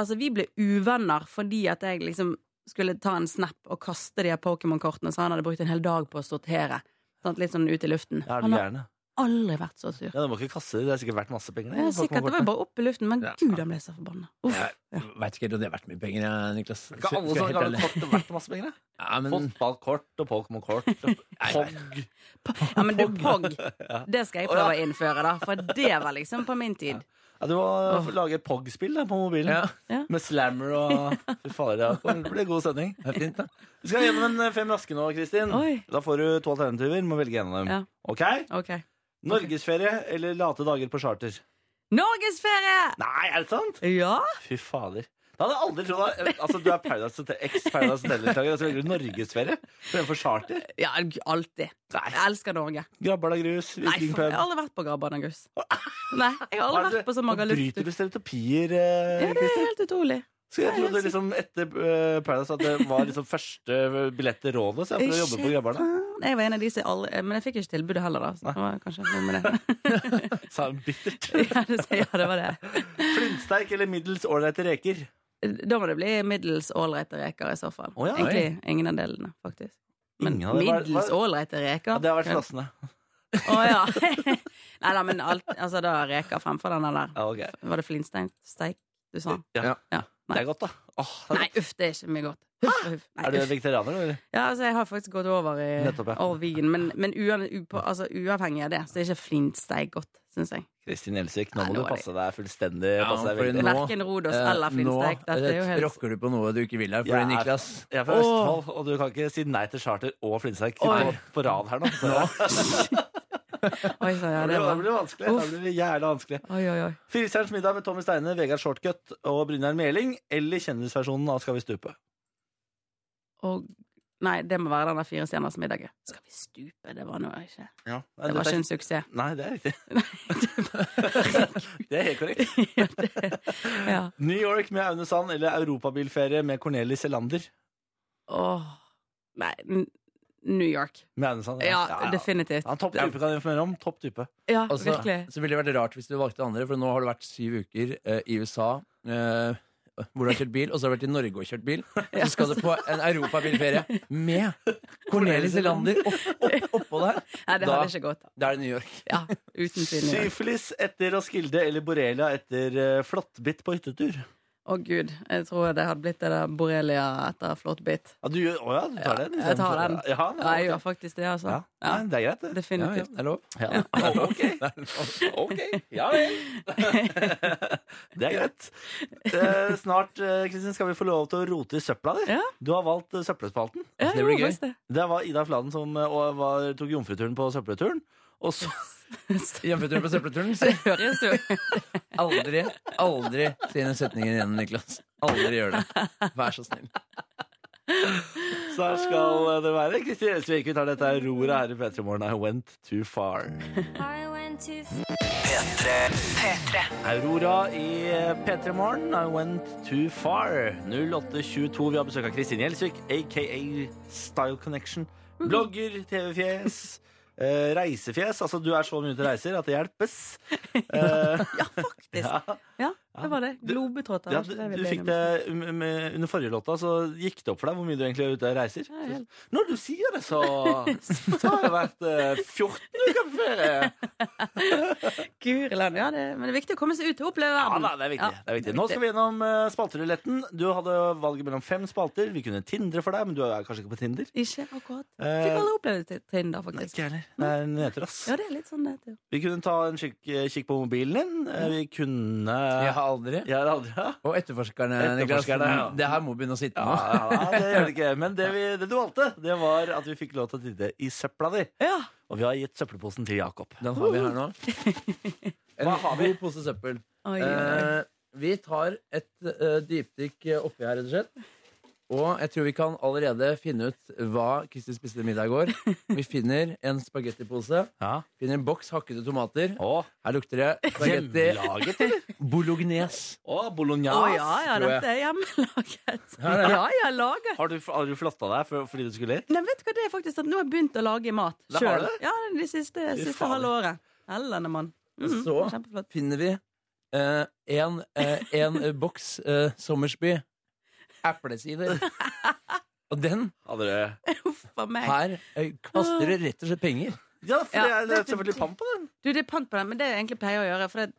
altså, vi ble uvenner fordi at jeg liksom skulle ta en snap og kaste de her Pokémon-kortene, så han hadde brukt en hel dag på å sortere. Sant? Litt sånn ut i luften. Ja, er du han har gæren? ja? aldri vært så sur. Ja, du må ikke kaste det. Det er sikkert verdt masse penger. Ja, sikkert, det var jo Pokémon-kortene. bare opp i luften, men Ja. gud, han ble så forbanna. Uff. Veit ikke helt om det er verdt mye penger, jeg, Niklas. Ikke Skal- alle skal jeg sånne helt gamle ærlig. kort er verdt masse penger? da? Ja, men Fotballkort og Pokémon-kort. Pog. Ja, men du, Pog, det skal jeg prøve å innføre, da. For det var liksom på min tid. Ja, du må eh, lage et Pog-spill da, på mobilen. Ja. Ja. Med slammer og Fy fader, det er- det blir god sending. det er fint, da. Vi skal gjennom en eh, fem raske nå, Kristin. Oi. Da får du to alternativer. Må velge en av dem. Ja. Ok? Ok. Norgesferie eller late dager på charter? Norgesferie! Nei, er det sant? Ja! Fy fader. Da hadde jeg aldri trodd at- Altså, Du er Paradise Hotel, eks-Paradise Hotel-deltaker, og så velger du norgesferie fremfor charter? Ja, alltid. Jeg elsker Norge. Grabbarna grus, Nei, for, vikingpub jeg har aldri vært på Grabbarnagus. Nei, jeg har aldri vært på sånn Nå ah, bryter Magaluf. du stereotypier, eh, Ja, det er Kristin. helt utrolig. Skulle jeg trodde liksom etter eh, Paradise at det var liksom første billett til rådet, så jeg prøvde å jobbe på Grabbarna. Jeg var en av de som aldri Men jeg fikk ikke tilbudet heller, da. Så det var kanskje noe med det. Sa hun bittert. Ja, det, ja, det var det. Flintsteik eller middels ålreite reker? Da må det bli middels ålreite reker i så fall. Å ja, Egentlig ingen av delene, faktisk. Men Ingen av dem. Hva- hva- middels ålreite reker? Ja, det har vært slassende. Å ja. Nei da, men alt, altså, da reker fremfor den der. Ja, ok. Var det flintsteinsteik du sa? Ja. Ja. Det Nei. er godt, da. Åh, det er Nei, godt. uff, det er ikke mye godt. Huff, huff. Nei, Er du uff. vegetarianer, eller? Ja, altså, jeg har faktisk gått over i Nettopp, ja. over vegan, men, men uan, u, på, altså, uavhengig av det, så er ikke flintsteik godt, syns jeg. Kristin Gjelsvik, nå Nei, må nå du er passe deg fullstendig. Ja, Passe deg for veldig. nå- Verken Rodos eller Eh, flintsteik. Nå Dette er jo helt tråkker du på noe du ikke vil her, fordi Jeg er- Niklas Jeg er fra Østfold, og du kan ikke si nei til charter og Flintsteik på, på rad her nå. Så Oi, så, ja, Da det blir det var... blir vanskelig. Da blir det jævla vanskelig. oi, oi, oi. Firestjerners middag med Tommy Steine, Vegard Shortcut og Brynjar Meling, eller kjendisversjonen av Skal vi stupe? Og, nei, det må være den der fire stjerners middag. Skal vi stupe? Det var nå ikke Ja. Nei, Det var dette ikke er- en suksess. Nei, det er riktig. det er helt korrekt. ja, det, ja. New York med Aune Sand eller europabilferie med Cornelis Elander? Åh. Nei, N- New York. Med Aune Sand, Ja, definitivt. Han er topp type, kan jeg informere om. Topp type. Ja, Og så- virkelig. Altså, Så ville det vært rart hvis du valgte det andre, for nå har du vært syv uker eh, i USA. eh, hvor du har kjørt bil, og så har du vært i Norge og kjørt bil. Så skal du på en europabilferie med Cornelis Elander opp, opp, oppå der. Nei, det Da- hadde ikke gått. Da er det New York. Ja, uten tvil. New York. Syfilis etter Roskilde eller Borrelia etter eh, flåttbitt på hyttetur? Å gud, jeg tror det hadde blitt det der borrelia etter flåttbitt. Ja, du, gjør- å ja, du tar den? liksom. Jeg tar den. Ja, Ja, jeg gjør faktisk det, altså. ja. Ja, Nei, det er greit, det. Ja, ja, definitivt. det er lov. Ja. Ok, ok. Ja vel. Det er greit. Eh, snart eh, Kristin, skal vi få lov til å rote i søpla di. Ja. Du har valgt eh, søppelspalten. Ja, Det blir jo, gøy. faktisk det. Det var Ida Fladen som eh, og var, tok jomfruturen på søppelturen. Og så Hjemmeturen på søppelturen. så Høres jo Aldri, aldri si den setningen igjen, Niklas. Aldri gjør det. Vær så snill. der skal eh, det være. Kristin Gjelsvik, vi tar dette her roret her i P3 Morgen. I went too far. I went too far. P3. Aurora i eh, P3 Morgen, I went too far. 0822. Vi har besøk av Kristin Gjelsvik, aka Style Connection. Blogger, TV-fjes, eh, reisefjes. Altså, du er så mye ute og reiser at det hjelpes. Eh, Ja, faktisk. Ja. Det var det. Du- Globetrotter. Ja, var du, ikke vi du ble fikk enige det om. um, um, Under forrige låta så gikk det opp for deg hvor mye du egentlig er ute og reiser. Ja, helt. Når du sier det, så, så har jeg vært eh, 14 uker på ferie! Guri land, ja, det, men det er viktig å komme seg ut og oppleve Ja, verden. da, det, er viktig, Ja, det er viktig. Nå skal vi gjennom eh, spalteruletten. Du hadde valget mellom fem spalter. Vi kunne tindre for deg, men du er kanskje ikke på Tinder. Ikke akkurat. Eh, Fikk alle oppleve det til Tinder, Nei, faktisk. ikke heller. Det er en nedtur, ass. Ja, det er litt sånn det heter. jo. Vi kunne ta en kikk, eh, kikk på mobilen din. Eh, Vi kunne Jeg har aldri. Ja, det hadde ja. Og etterforskerne, Niklas. Etterforskerne, ja. Det her må begynne å sitte Ja, nå. ja, det gjør det ikke. Men det, vi, det du valgte, det var at vi fikk lov til å titte i søpla di. Ja. Og vi har gitt søppelposen til Jakob. Den har vi her nå. En Hva har vi? god pose søppel. Oi, oi. Eh, vi tar et eh, dypdykk oppi her, rett og slett. Og jeg tror vi kan allerede finne ut hva Kristin spiste til middag i går. Vi finner en spagettipose. Ja. Finner en boks hakkede tomater. Å, Her lukter det spagetti hjemmelaget, eller? bolognese. Å, bolognese. Å ja, ja, tror jeg. dette er hjemmelaget. Ja, det er. Ja, ja, laget. Har du, har du flotta deg for, fordi du skulle hit? Nei, vet du hva det er faktisk at nå har jeg begynt å lage mat Det har sjøl. du? Ja, det siste, siste faen. halve året. Hellene, mann. Mhm, Så- Kjempeflott. Finner vi eh, en, eh, en eh, boks eh, Sommersby eplesider. Og den Hadde du Huff a meg. her eh, kaster det rett og slett penger. Ja, for Ja, det er- det er definitivt. selvfølgelig pant på den. Du, det er pant på den, men det jeg egentlig pleier å gjøre For det,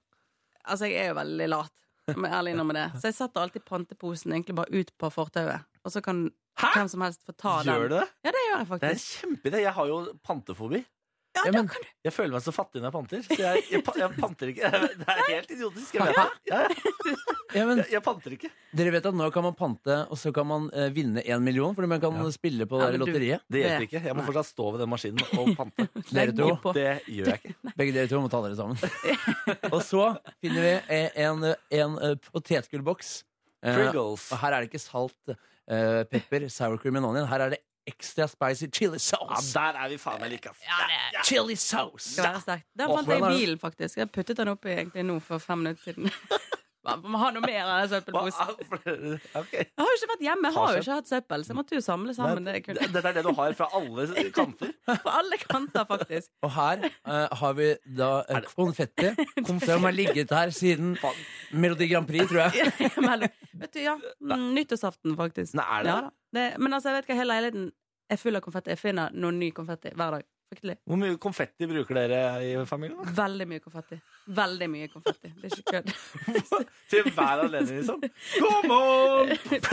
altså, jeg er jo veldig lat jeg må ærlig innrømme det Så jeg setter alltid panteposen egentlig bare ut på fortauet Og så kan hvem som helst få ta den Gjør du det? Ja, det gjør jeg Det er en faktisk kjempeidé. Jeg har jo pantefobi. Ja, men, Jeg føler meg så fattig når jeg panter. Så jeg, jeg, pa- jeg panter ikke. Det er helt idiotisk. Jeg, vet det. Ja, ja. ja, men jeg, jeg panter ikke. Dere vet at nå kan man pante, og så kan man eh, vinne én million, fordi man kan spille på det Ja, men du- lotteriet. Det hjelper Det- ikke. Jeg må fortsatt stå ved den maskinen og pante. Dere Legg to, på. Det gjør jeg ikke. begge dere to må ta dere sammen. og så finner vi eh, en, en eh, potetgullboks. Eh, Priggles. og her er det ikke salt, eh, pepper, sour cream and onion. Her er det ekstra spicy chili Ja, sauce. der er vi faen meg like. ass. Chili sauce! Skal være sterkt Den Åh, fant jeg hvordan i er det? bilen faktisk Jeg puttet den oppi egentlig nå for fem minutter siden Hva, Må ha noe mer av den søppelposen Hva- Ok. Jeg har jo ikke vært hjemme Jeg har Ta jo ikke hatt søppel Så jeg måtte jo samle sammen det jeg kunne Dette er det du har fra alle kanter. På alle kanter faktisk Og her eh, har vi da eh, konfetti, som har ligget her siden Melodi Grand Prix, tror jeg. Mellom- Vet du, ja. Mm, Nyttårsaften, faktisk. Nei, er det Ja, det? da. det? Men altså, jeg vet ikke, hele leiligheten er full av konfetti. Jeg finner noe ny konfetti hver dag. Fryktelig. Hvor mye konfetti bruker dere i familien? da? Veldig mye konfetti. Veldig mye konfetti. Det er ikke kødd. Til hver anledning, liksom? God morgen!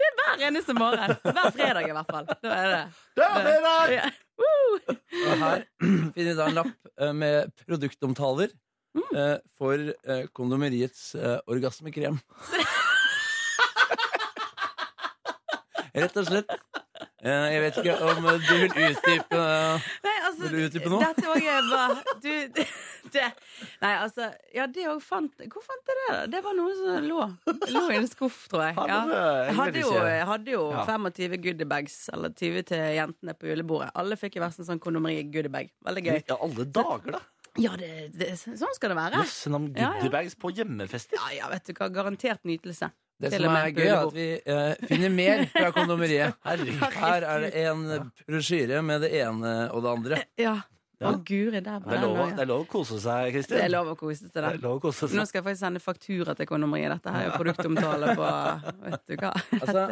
Hver eneste morgen. Hver fredag, i hvert fall. Da er det Det er fredag! ja. Woo! Og her finner vi da en lapp eh, med produktomtaler eh, for eh, kondomeriets eh, orgasmekrem. Rett og slett. Eh, Jeg vet ikke om eh, du vil utdype eh, Nei, altså, Vil du utdype noe? Dette òg er bare Du det, Nei, altså Ja, det òg fant Hvor fant jeg det? da? Det var noe som lå Lå i en skuff, tror jeg. Har du Ja. det? Jeg hadde jo, jeg hadde jo Ja. 25 goodiebags, eller 20 til jentene på julebordet. Alle fikk i hver sin sånn kondomeri-goodiebag. Veldig gøy. Ja, alle dager, da! Ja, det, det, sånn skal det være. Jøss, navn Ja, ja. goodiebags på hjemmefester. Ja, ja, vet du hva. Garantert nytelse. Det Til som og med er på gøy, er at julebord. vi eh, finner mer fra kondomeriet. Herregud. Her er det en brosjyre med det ene og det andre. Ja. Ja. Å, guri, der Det var er lov, den. det ja. er lov å kose seg, Kristin. Det er lov å kose seg til Det er det. lov å kose Nå seg. skal jeg faktisk sende faktura til kondomeriet. Dette her er jo produktomtale på Vet du hva. Altså,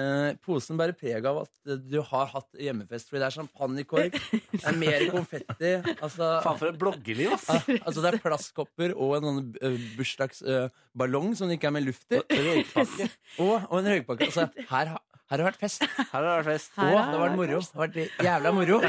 eh, posen bærer preg av at eh, du har hatt hjemmefest, fordi det er champagnekork, det er mer konfetti altså, Faen for et bloggeliv, ass! ah, altså det er plastkopper og en sånn eh, bursdagsballong som det ikke er med luft i, Røykpakke. og, og en røykpakke. Altså, her, ha- her har det vært fest, og Her har det vært fest. Her det har har vært moro. Det har vært jævla moro.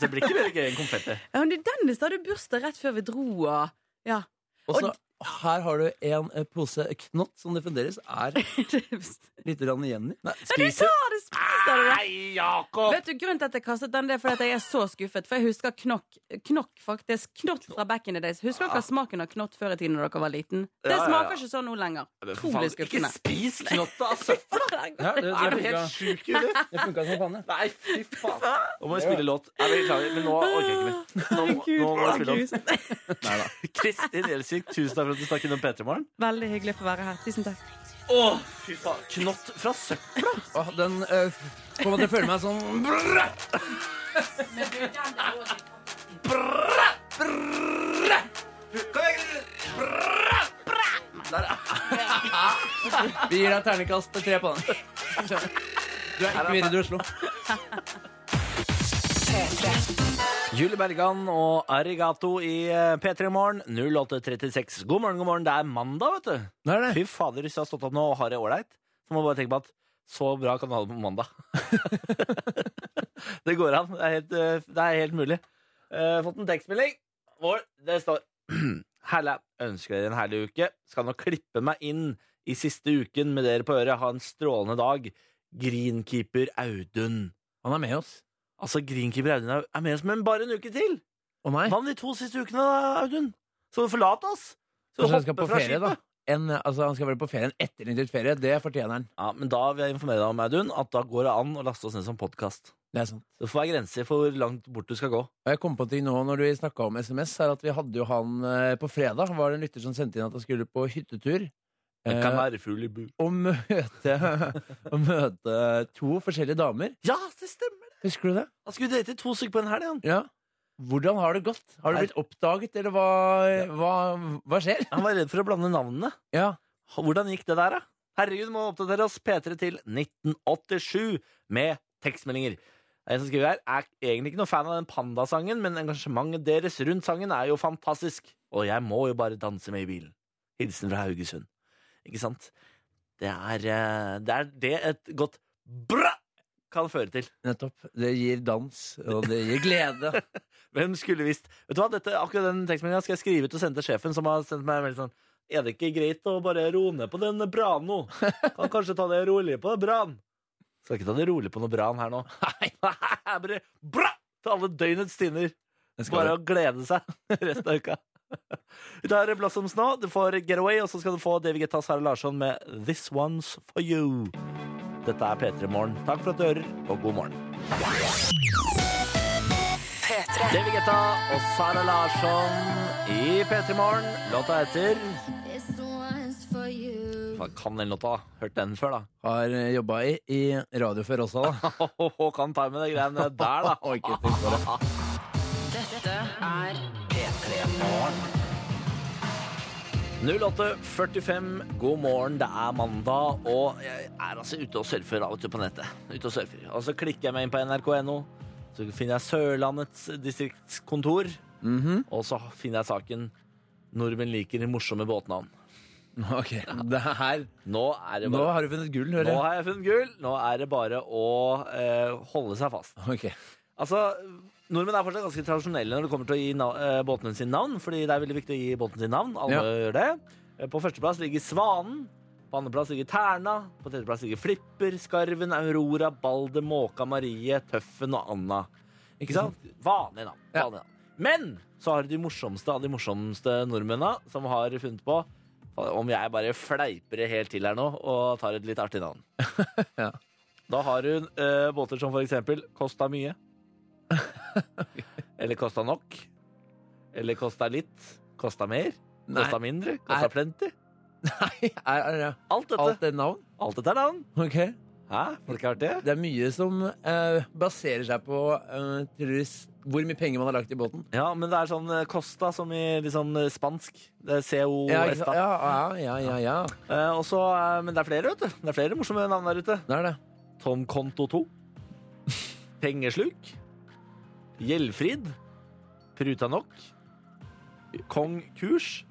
Det blir ikke mer gøy enn konfetti. Ja, men du, Dennis hadde bursdag rett før vi dro, og Ja. Og så her har du en eh, pose knott som det fremdeles er litt rann igjen i. Nei, Spiser Ja, det spiser du det! Nei, Jakob! Vet du grunnen til at jeg kastet den? Det er fordi at jeg er så skuffet. For jeg husker knokk, knokk faktisk. Knott fra back in the days. Husker dere smaken av knott før i tiden da dere var liten? Det Ja, ja, ja. smaker ikke sånn nå Men lenger. for faen, Ikke Utrolig skuffende. spis knotta av søpla! ja, det, Er du det helt funka- sjuk, eller? det funka som faen, det. Nei, fy faen. Nå må vi spille låt. Nei, beklager, men nå orker jeg ikke mer. Nå, må- Gud, nå må vi spille låt. Gud. Kristin Gjelsvik, tusen takk for at du snakket om P3 Morgen. Veldig hyggelig å få være her. Tusen takk. Å, fy faen. Knott fra søpla! Åh, den eh, kom at jeg føler meg sånn Brrra! Brrra! Kom igjen! Brrra! Vi gir deg ternekast tre på den. Du er ikke med i Radio Oslo. Julie Bergan og Arigato i eh, P3 Morgen 0836. God morgen, god morgen. Det er mandag, vet du. Nå er det. Fy fader, hvis du har stått opp nå og har det ålreit, så må du bare tenke på at så bra kan du ha det på mandag. det går an. Det er helt, eh, det er helt mulig. Eh, fått en tekstmelding hvor det står Herlig. Ønsker dere en herlig uke. Skal nå klippe meg inn i siste uken med dere på øret. Ha en strålende dag. Greenkeeper Audun. Han er med oss. Altså, Greenkeeper Audun er er med oss, men bare en uke til! Å nei. Hva med de to siste ukene, da, Audun? Skal du forlate oss? Skal Kanskje han skal på ferie, da. En, altså, han skal vel på ferie en etterlengtet ferie. Det fortjener han. Ja, men da vil jeg informere deg om, Audun, at da går det an å laste oss ned som podkast. Det er sant. Det får være grenser for hvor langt bort du skal gå. Og jeg kom på en ting nå når vi snakka om SMS, er at vi hadde jo han eh, på fredag. Var det en lytter som sendte inn at han skulle på hyttetur. En eh, kanarifugl i bu. Og møte, og møte to forskjellige damer. Ja, det stemmer! Husker du det? Han skulle date to stykker på en helg, han. Ja. Hvordan har det gått? Har du Nei. blitt oppdaget, eller hva, hva, hva skjer? Han var redd for å blande navnene. Ja. Hvordan gikk det der, da? Herregud, må oppdatere oss P3 til 1987 med tekstmeldinger. En som skriver her, er egentlig ikke noe fan av den pandasangen, men engasjementet deres rundt sangen er jo fantastisk. Og jeg må jo bare danse med i bilen. Hilsen fra Haugesund. Ikke sant? Det er eh, det, er det et godt bra kan føre til. Nettopp. Det gir dans, og det gir glede. Hvem skulle visst? Vet du hva, dette, akkurat den tekstmeldinga skal jeg skrive ut og sende til sjefen, som har sendt meg en veldig sånn Er det ikke greit å bare roe ned på den branen nå? Kan kanskje ta det rolig på bran? Skal ikke ta det rolig på noe bran her nå. Nei, bare bra! Til alle døgnets timer. Det skal Bare det. å glede seg resten av uka. Vi tar Blossom Snow, du får Getaway, og så skal du få David Getta Sara Larsson med This One's For You. Dette er P3 Morgen. Takk for at du hører, og god morgen. P3. David Guetta og Sara Larsson i P3 Morgen. Låta heter This one's for you. Faen, Kan den låta? Hørt den før, da? Har jobba i, i radio før også, da. kan ta med de greiene der, da. Oi, ikke tenk på det. Dette er P3. 08.45, god morgen, det er mandag, og jeg er altså ute og surfer av og til på nettet. Ute og surfer. Og så klikker jeg meg inn på nrk.no, så finner jeg Sørlandets distriktskontor, og så finner jeg saken 'Nordmenn liker morsomme båtnavn'. Ok, det her. Nå er det Nå bare har du funnet gull, hører Nå jeg. har jeg funnet gull, nå er det bare å eh, holde seg fast. Ok. Altså, Nordmenn er fortsatt ganske tradisjonelle når det kommer til å gi nav eh, båtene sine navn. Fordi det er veldig viktig å gi båtene sine navn. Alle Ja. gjør det. Eh, På førsteplass ligger Svanen. På andreplass ligger Terna. På tredjeplass ligger Flipper, Skarven, Aurora, Balder, Måka, Marie, Tøffen og Anna. Ikke sant? Vanlige navn. Ja. Vanlige navn. Men så har du de morsomste av de morsomste nordmennene som har funnet på om jeg bare fleiper det helt til her nå og tar et litt artig navn. Ja. Da har hun eh, båter som for eksempel Kosta mye. Eller kosta nok. Eller kosta litt. Kosta mer. Nei. Kosta mindre. Kosta Nei. plenty. Nei, er, er, er, Alt dette. alt Alt, det navn? dette er navn. Ok. Hæ? Folk har hørt det? Det er mye som eh, baserer seg på eh, tydeligvis hvor mye penger man har lagt i båten. Ja, men det er sånn eh, Costa som i litt sånn eh, spansk. Det er Ja, COS. ikke sant? da. ja, ja, ja, ja, ja. Eh, og så, eh, men det er flere, vet du. Det er flere morsomme navn der ute. Det er det. Tom Konto 2. Pengesluk. Gjeldfrid. Pruta nok. Kong Kurs.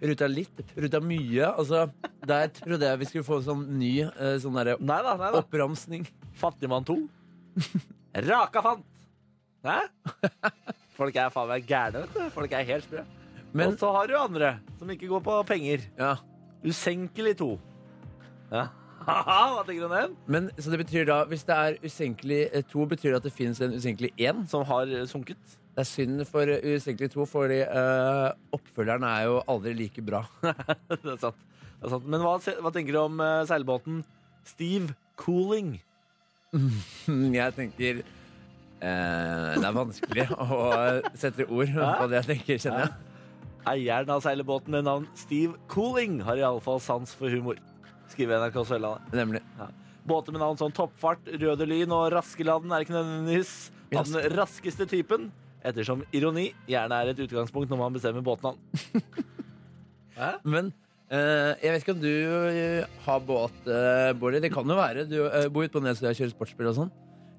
Pruta litt, pruta mye. Altså, der trodde jeg vi skulle få en sånn ny eh, sånn derre Nei da, nei da. oppramsning. Fattigmann 2. Raka fant. Hæ? Folk er faen meg gærne, vet du. Folk er helt sprø. Men Og så har du andre som ikke går på penger. ja. Usenkelig 2. Ja. Haha, Hva tenker du om den? Men, så det betyr da, hvis det er usenkelig eh, to, betyr det at det fins en usenkelig én? Som har eh, sunket. Det er synd for eh, usenkelig to, fordi eh, oppfølgeren er jo aldri like bra. Det er sant. Det er sant. Men hva, hva tenker du om eh, seilbåten Steve Cooling? Jeg tenker eh, Det er vanskelig å sette ord på det jeg tenker, kjenner jeg. Eieren av seilbåten med navn Steve Cooling har iallfall sans for humor. Skriver NRK Sørlandet. Nemlig. Båter med navn som Toppfart, Røde Lyn og Raskelanden er ikke nødvendigvis av den raskeste typen, ettersom ironi gjerne er et utgangspunkt når man bestemmer båtnavn. Men Eh, jeg vet ikke om du eh, har båt, eh, Bård. Det kan jo være. Du eh, bor ute på Nesøya og kjører sportsbil og sånn.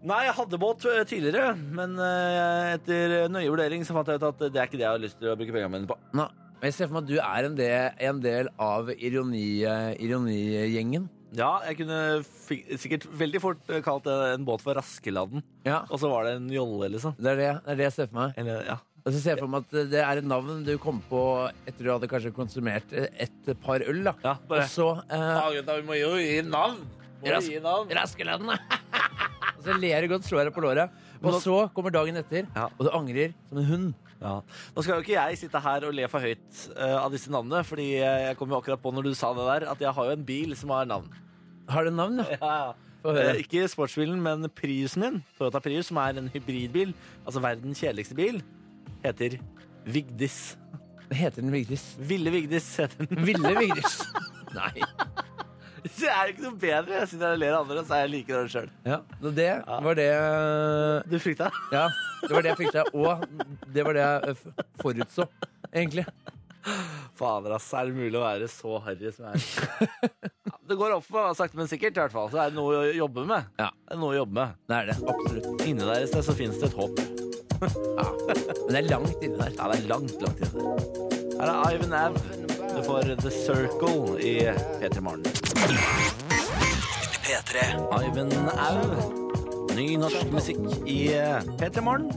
Nei, jeg hadde båt eh, tidligere, men eh, etter nøye vurdering så fant jeg ut at det er ikke det jeg har lyst til å bruke pengene mine på. Nei. Men jeg ser for meg at du er en del, en del av ironi, eh, ironigjengen. Ja, jeg kunne fi- sikkert veldig fort eh, kalt det en båt for Raskeladden, Ja. og så var det en jolle, liksom. Det er det, det er det jeg ser for meg. Eller, ja. Og så ser jeg for meg at det er et navn du kom på etter du hadde kanskje konsumert eh, et par øl. da. Ja, bare- Og så eh, vi må jo gi navn! Må jo gi Raskeladden! og så ler du godt, slår deg på låret. Og Men da- så kommer dagen etter, Ja. og du angrer som en hund. Ja. Nå skal jo ikke jeg sitte her og le for høyt eh, av disse navnene, fordi eh, jeg kom jo akkurat på når du sa det der, at jeg har jo en bil som har navn. Har du navn, da? Få høre. Eh, ikke sportsbilen, men Priusen min, Toyota Prius, som er en hybridbil, altså verdens kjedeligste bil, heter Vigdis. Heter den Vigdis? Ville Vigdis heter den. Ville Vigdis. Nei. Det er jo ikke noe bedre. Jeg sitter her og ler av andre, så er jeg like dårlig sjøl. Ja, og det var det Du frykta? Ja, det var det jeg frykta. Og det var det jeg eh, f- forutså, egentlig. Fader, ass. Er det mulig å være så harry som jeg er? Ja, det går opp for meg, da, sakte, men sikkert. i hvert fall. Så er det noe å jobbe med. Ja. Det er noe å jobbe med. Det er det. Absolutt. Inni der et sted så finnes det et håp. Men det er langt inne der. Ja, det er langt, langt inn der. Her er Ivan Av. Du får The Circle i P3 Morgen. P3. Ivan Au. Ny norsk musikk i eh, P3 Morgen.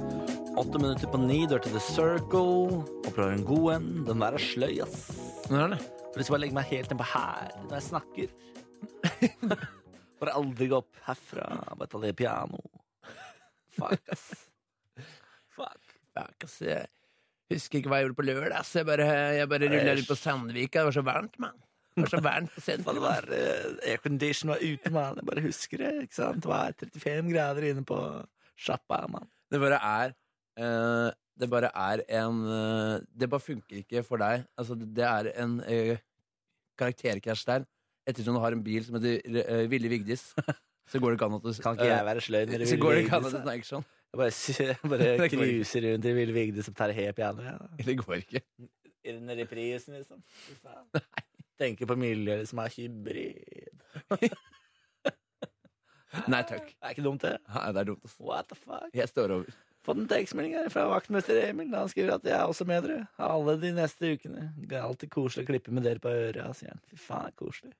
Åtte minutter på ni, dør til The Circle. Håper du har en god en. Den der er sløy, ass. Det Sånn er det. Jeg har lyst til å bare legge meg helt innpå her når jeg snakker. bare aldri gå opp herfra. Bare ta det piano. Fuck, ass. Fuck. Ja, ass, jeg husker ikke hva jeg gjorde på lørdag. ass. Jeg bare, jeg bare rulla rundt på Sandvika. Det var så varmt, mann. Det var så varmt på Hva det sentrum. var, eh, Aircondition var ute, mann. Jeg bare husker det. ikke sant? Det var 35 grader inne på sjappa, mann. Det bare er eh, Det bare er en eh, Det bare funker ikke for deg. Altså, det er en eh, karakterkrasj der. Ettersom du har en bil som heter eh, Ville Vigdis, så går det ikke an at du eh, Kan ikke jeg være sløy når Eh, det Så går det ikke an at du Vigdis? snakker sånn. Jeg bare, sy- bare Det går cruiser rundt i Ville Vigdis og tar helt piano. Ja. Det går ikke. Under i prisen, liksom. Fy faen. Tenker på miljøet som er hybrid. Nei takk. Det er ikke dumt, det. Nei, det er dumt. ass. What the fuck? Jeg står over. Fått en tekstmelding her fra vaktmester Emil. Han skriver at jeg er også med dere alle de neste ukene. Det er alltid koselig å klippe med dere på øra, sier han. Fy faen, koselig.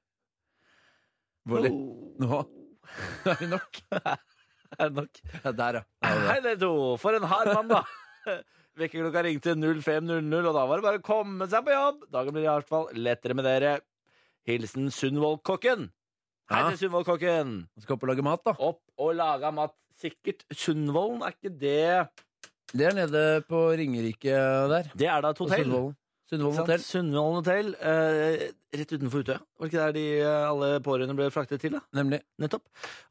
Bolly. Oh. Nå er det nok. Er det nok? Ja, der, ja. Ja, det er Hei, dere to. For en hard mann, da. Vekkerklokka ringte 05.00, og da var det bare å komme seg på jobb. Dagen blir i hvert fall lettere med dere. Hilsen Sundvold-kokken. Hei Ja. til Sundvold-kokken. det. Skal opp og lage mat, da. Opp og laga mat. Sikkert Sundvolden, er ikke det Det er nede på Ringerike der. Det er da et På hotell. Sundvolden. Sundvolden Sundvolden hotell. Sundvolden hotell eh, rett utenfor Utøya. Var det ikke der de, eh, alle pårørende ble fraktet til? da? Nemlig. Nettopp.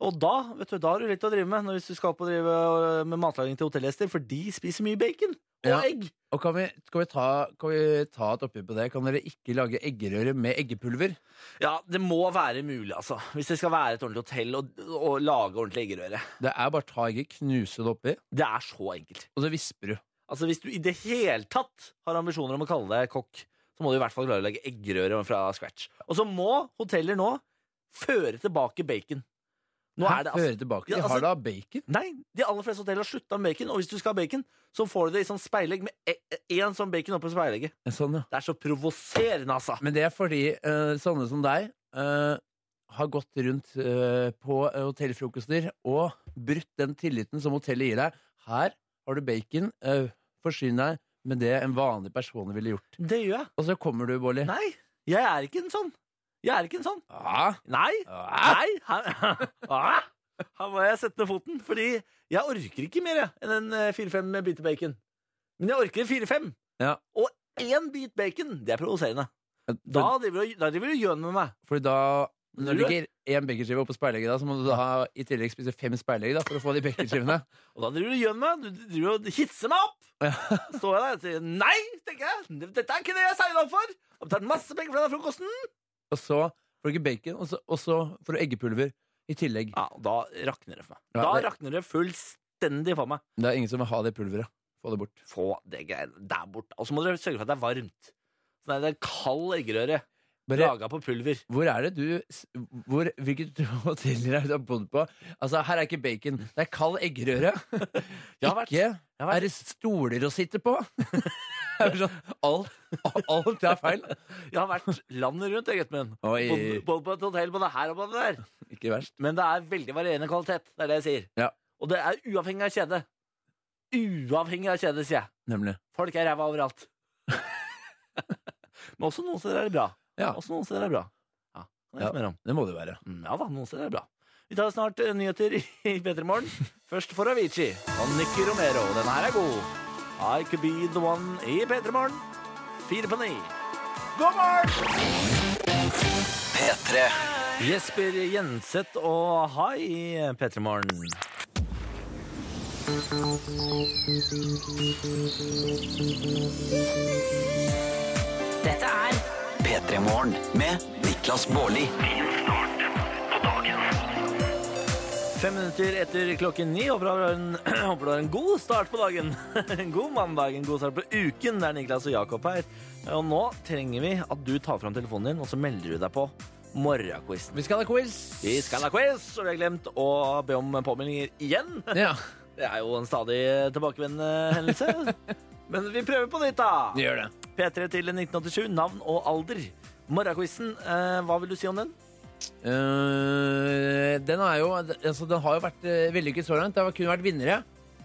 Og da vet du, da har du litt å drive med når hvis du skal opp og drive eh, med matlaging til hotellgjester, for de spiser mye bacon og Ja. egg. Og kan vi, kan, vi ta, kan vi ta et oppgjør på det? Kan dere ikke lage eggerøre med eggepulver? Ja, det må være mulig, altså. Hvis det skal være et ordentlig hotell og, og lage ordentlig eggerøre. Det er bare å ta egget, knuse det oppi, Det er så enkelt. og så visper du. Altså, Hvis du i det hele tatt har ambisjoner om å kalle deg kokk, så må du i hvert fall klare å lage eggerøre fra scratch. Og så må hoteller nå føre tilbake bacon. Nå Hæ? er det altså... Hører tilbake. Ja, De altså- har da bacon. Nei, de aller fleste hoteller har slutta med bacon. Og hvis du skal ha bacon, så får du det i sånn speilegg med e- én sånn bacon oppå speilegget. Ja, Sånn, ja. Det er så provoserende, altså. Men det er fordi eh, sånne som deg eh, har gått rundt eh, på eh, hotellfrokoster og brutt den tilliten som hotellet gir deg. Her har du bacon. eh, forsyn deg med det en vanlig person ville gjort. Det gjør jeg. Og så kommer du, Bolli. Nei, jeg er ikke en sånn. Jeg er ikke en sånn. Ah, Nei. ah. Nei, her, Ah! her må jeg sette ned foten, fordi jeg orker ikke mer jeg, enn en eh, fire-fem biter bacon. Men jeg orker fire-fem. Ja. Og én bit bacon, det er provoserende. Da Da, driver du- da driver du og gjør med meg. fordi da når det ligger én baconskive oppå speilegget, da, så må du da i tillegg spise fem speilegg da, for å få de baconskivene. Og da driver du og gjør med meg. Du driver og hisser meg opp. Står jeg der og sier nei, tenker jeg. Dette er ikke det jeg signa opp for. Jeg har betalt masse penger for denne frokosten. og så får du ikke bacon, og så, og så får du eggepulver i tillegg. Ja, og Da rakner det for meg. Ja, Da det- rakner det fullstendig for meg. Det er ingen som vil ha det pulveret. Få det bort. Få det greiene der bort. Og så må dere sørge for at det er varmt. Så det er det er kald eggerøre. Bare, Laga på pulver. hvor er det du s- hvor, Hvilket hotell er det du har bodd på? Altså, her er ikke bacon. Det er kald eggerøre. Jeg har vært- Ikke har vært- er det stoler å sitte på. Det er sånn, alt, alt er feil. Jeg har vært landet rundt, jeg, gutten min. Oi. Både- Både på et hotell, både her og både der. Ikke verst. Men det er veldig varierende kvalitet. Det er det jeg sier. Ja. Og det er uavhengig av kjede. Uavhengig av kjede, sier jeg. Nemlig. Folk er ræva overalt. Men også noen steder er det bra. Ja. Også noen steder er det bra. Ja, det er Ja. ikke mer om. Det må det være. Mm, ja da, noen steder er det bra. Vi tar snart eh, nyheter i P3 Morgen. Først for Avicii og Nicky Romero. Denne her er god. I could be the one i P3 Morgen. Fire på ni. God morgen! P3. Jesper Jenseth og Hai i P3 Morgen. Dette er P3 Morgen med Niklas Baarli. Fem minutter etter klokken ni. Håper du har en, håper du har en god start på dagen. En god mandag, en god start på uken. Det er Niklas og Jakob her. Og nå trenger vi at du tar fram telefonen din, og så melder du deg på morgenquizen. Vi skal ha quiz. Vi skal ha quiz, og vi har glemt å be om påmeldinger igjen. Ja, Det er jo en stadig tilbakevendende hendelse. Men vi prøver på nytt, vi da. gjør det. P3 til 1987. Navn og alder. Morgenquizen, eh, hva vil du si om den? Eh, den, er jo, altså, den har jo vært eh, vellykket så langt. Det har kun vært vinnere.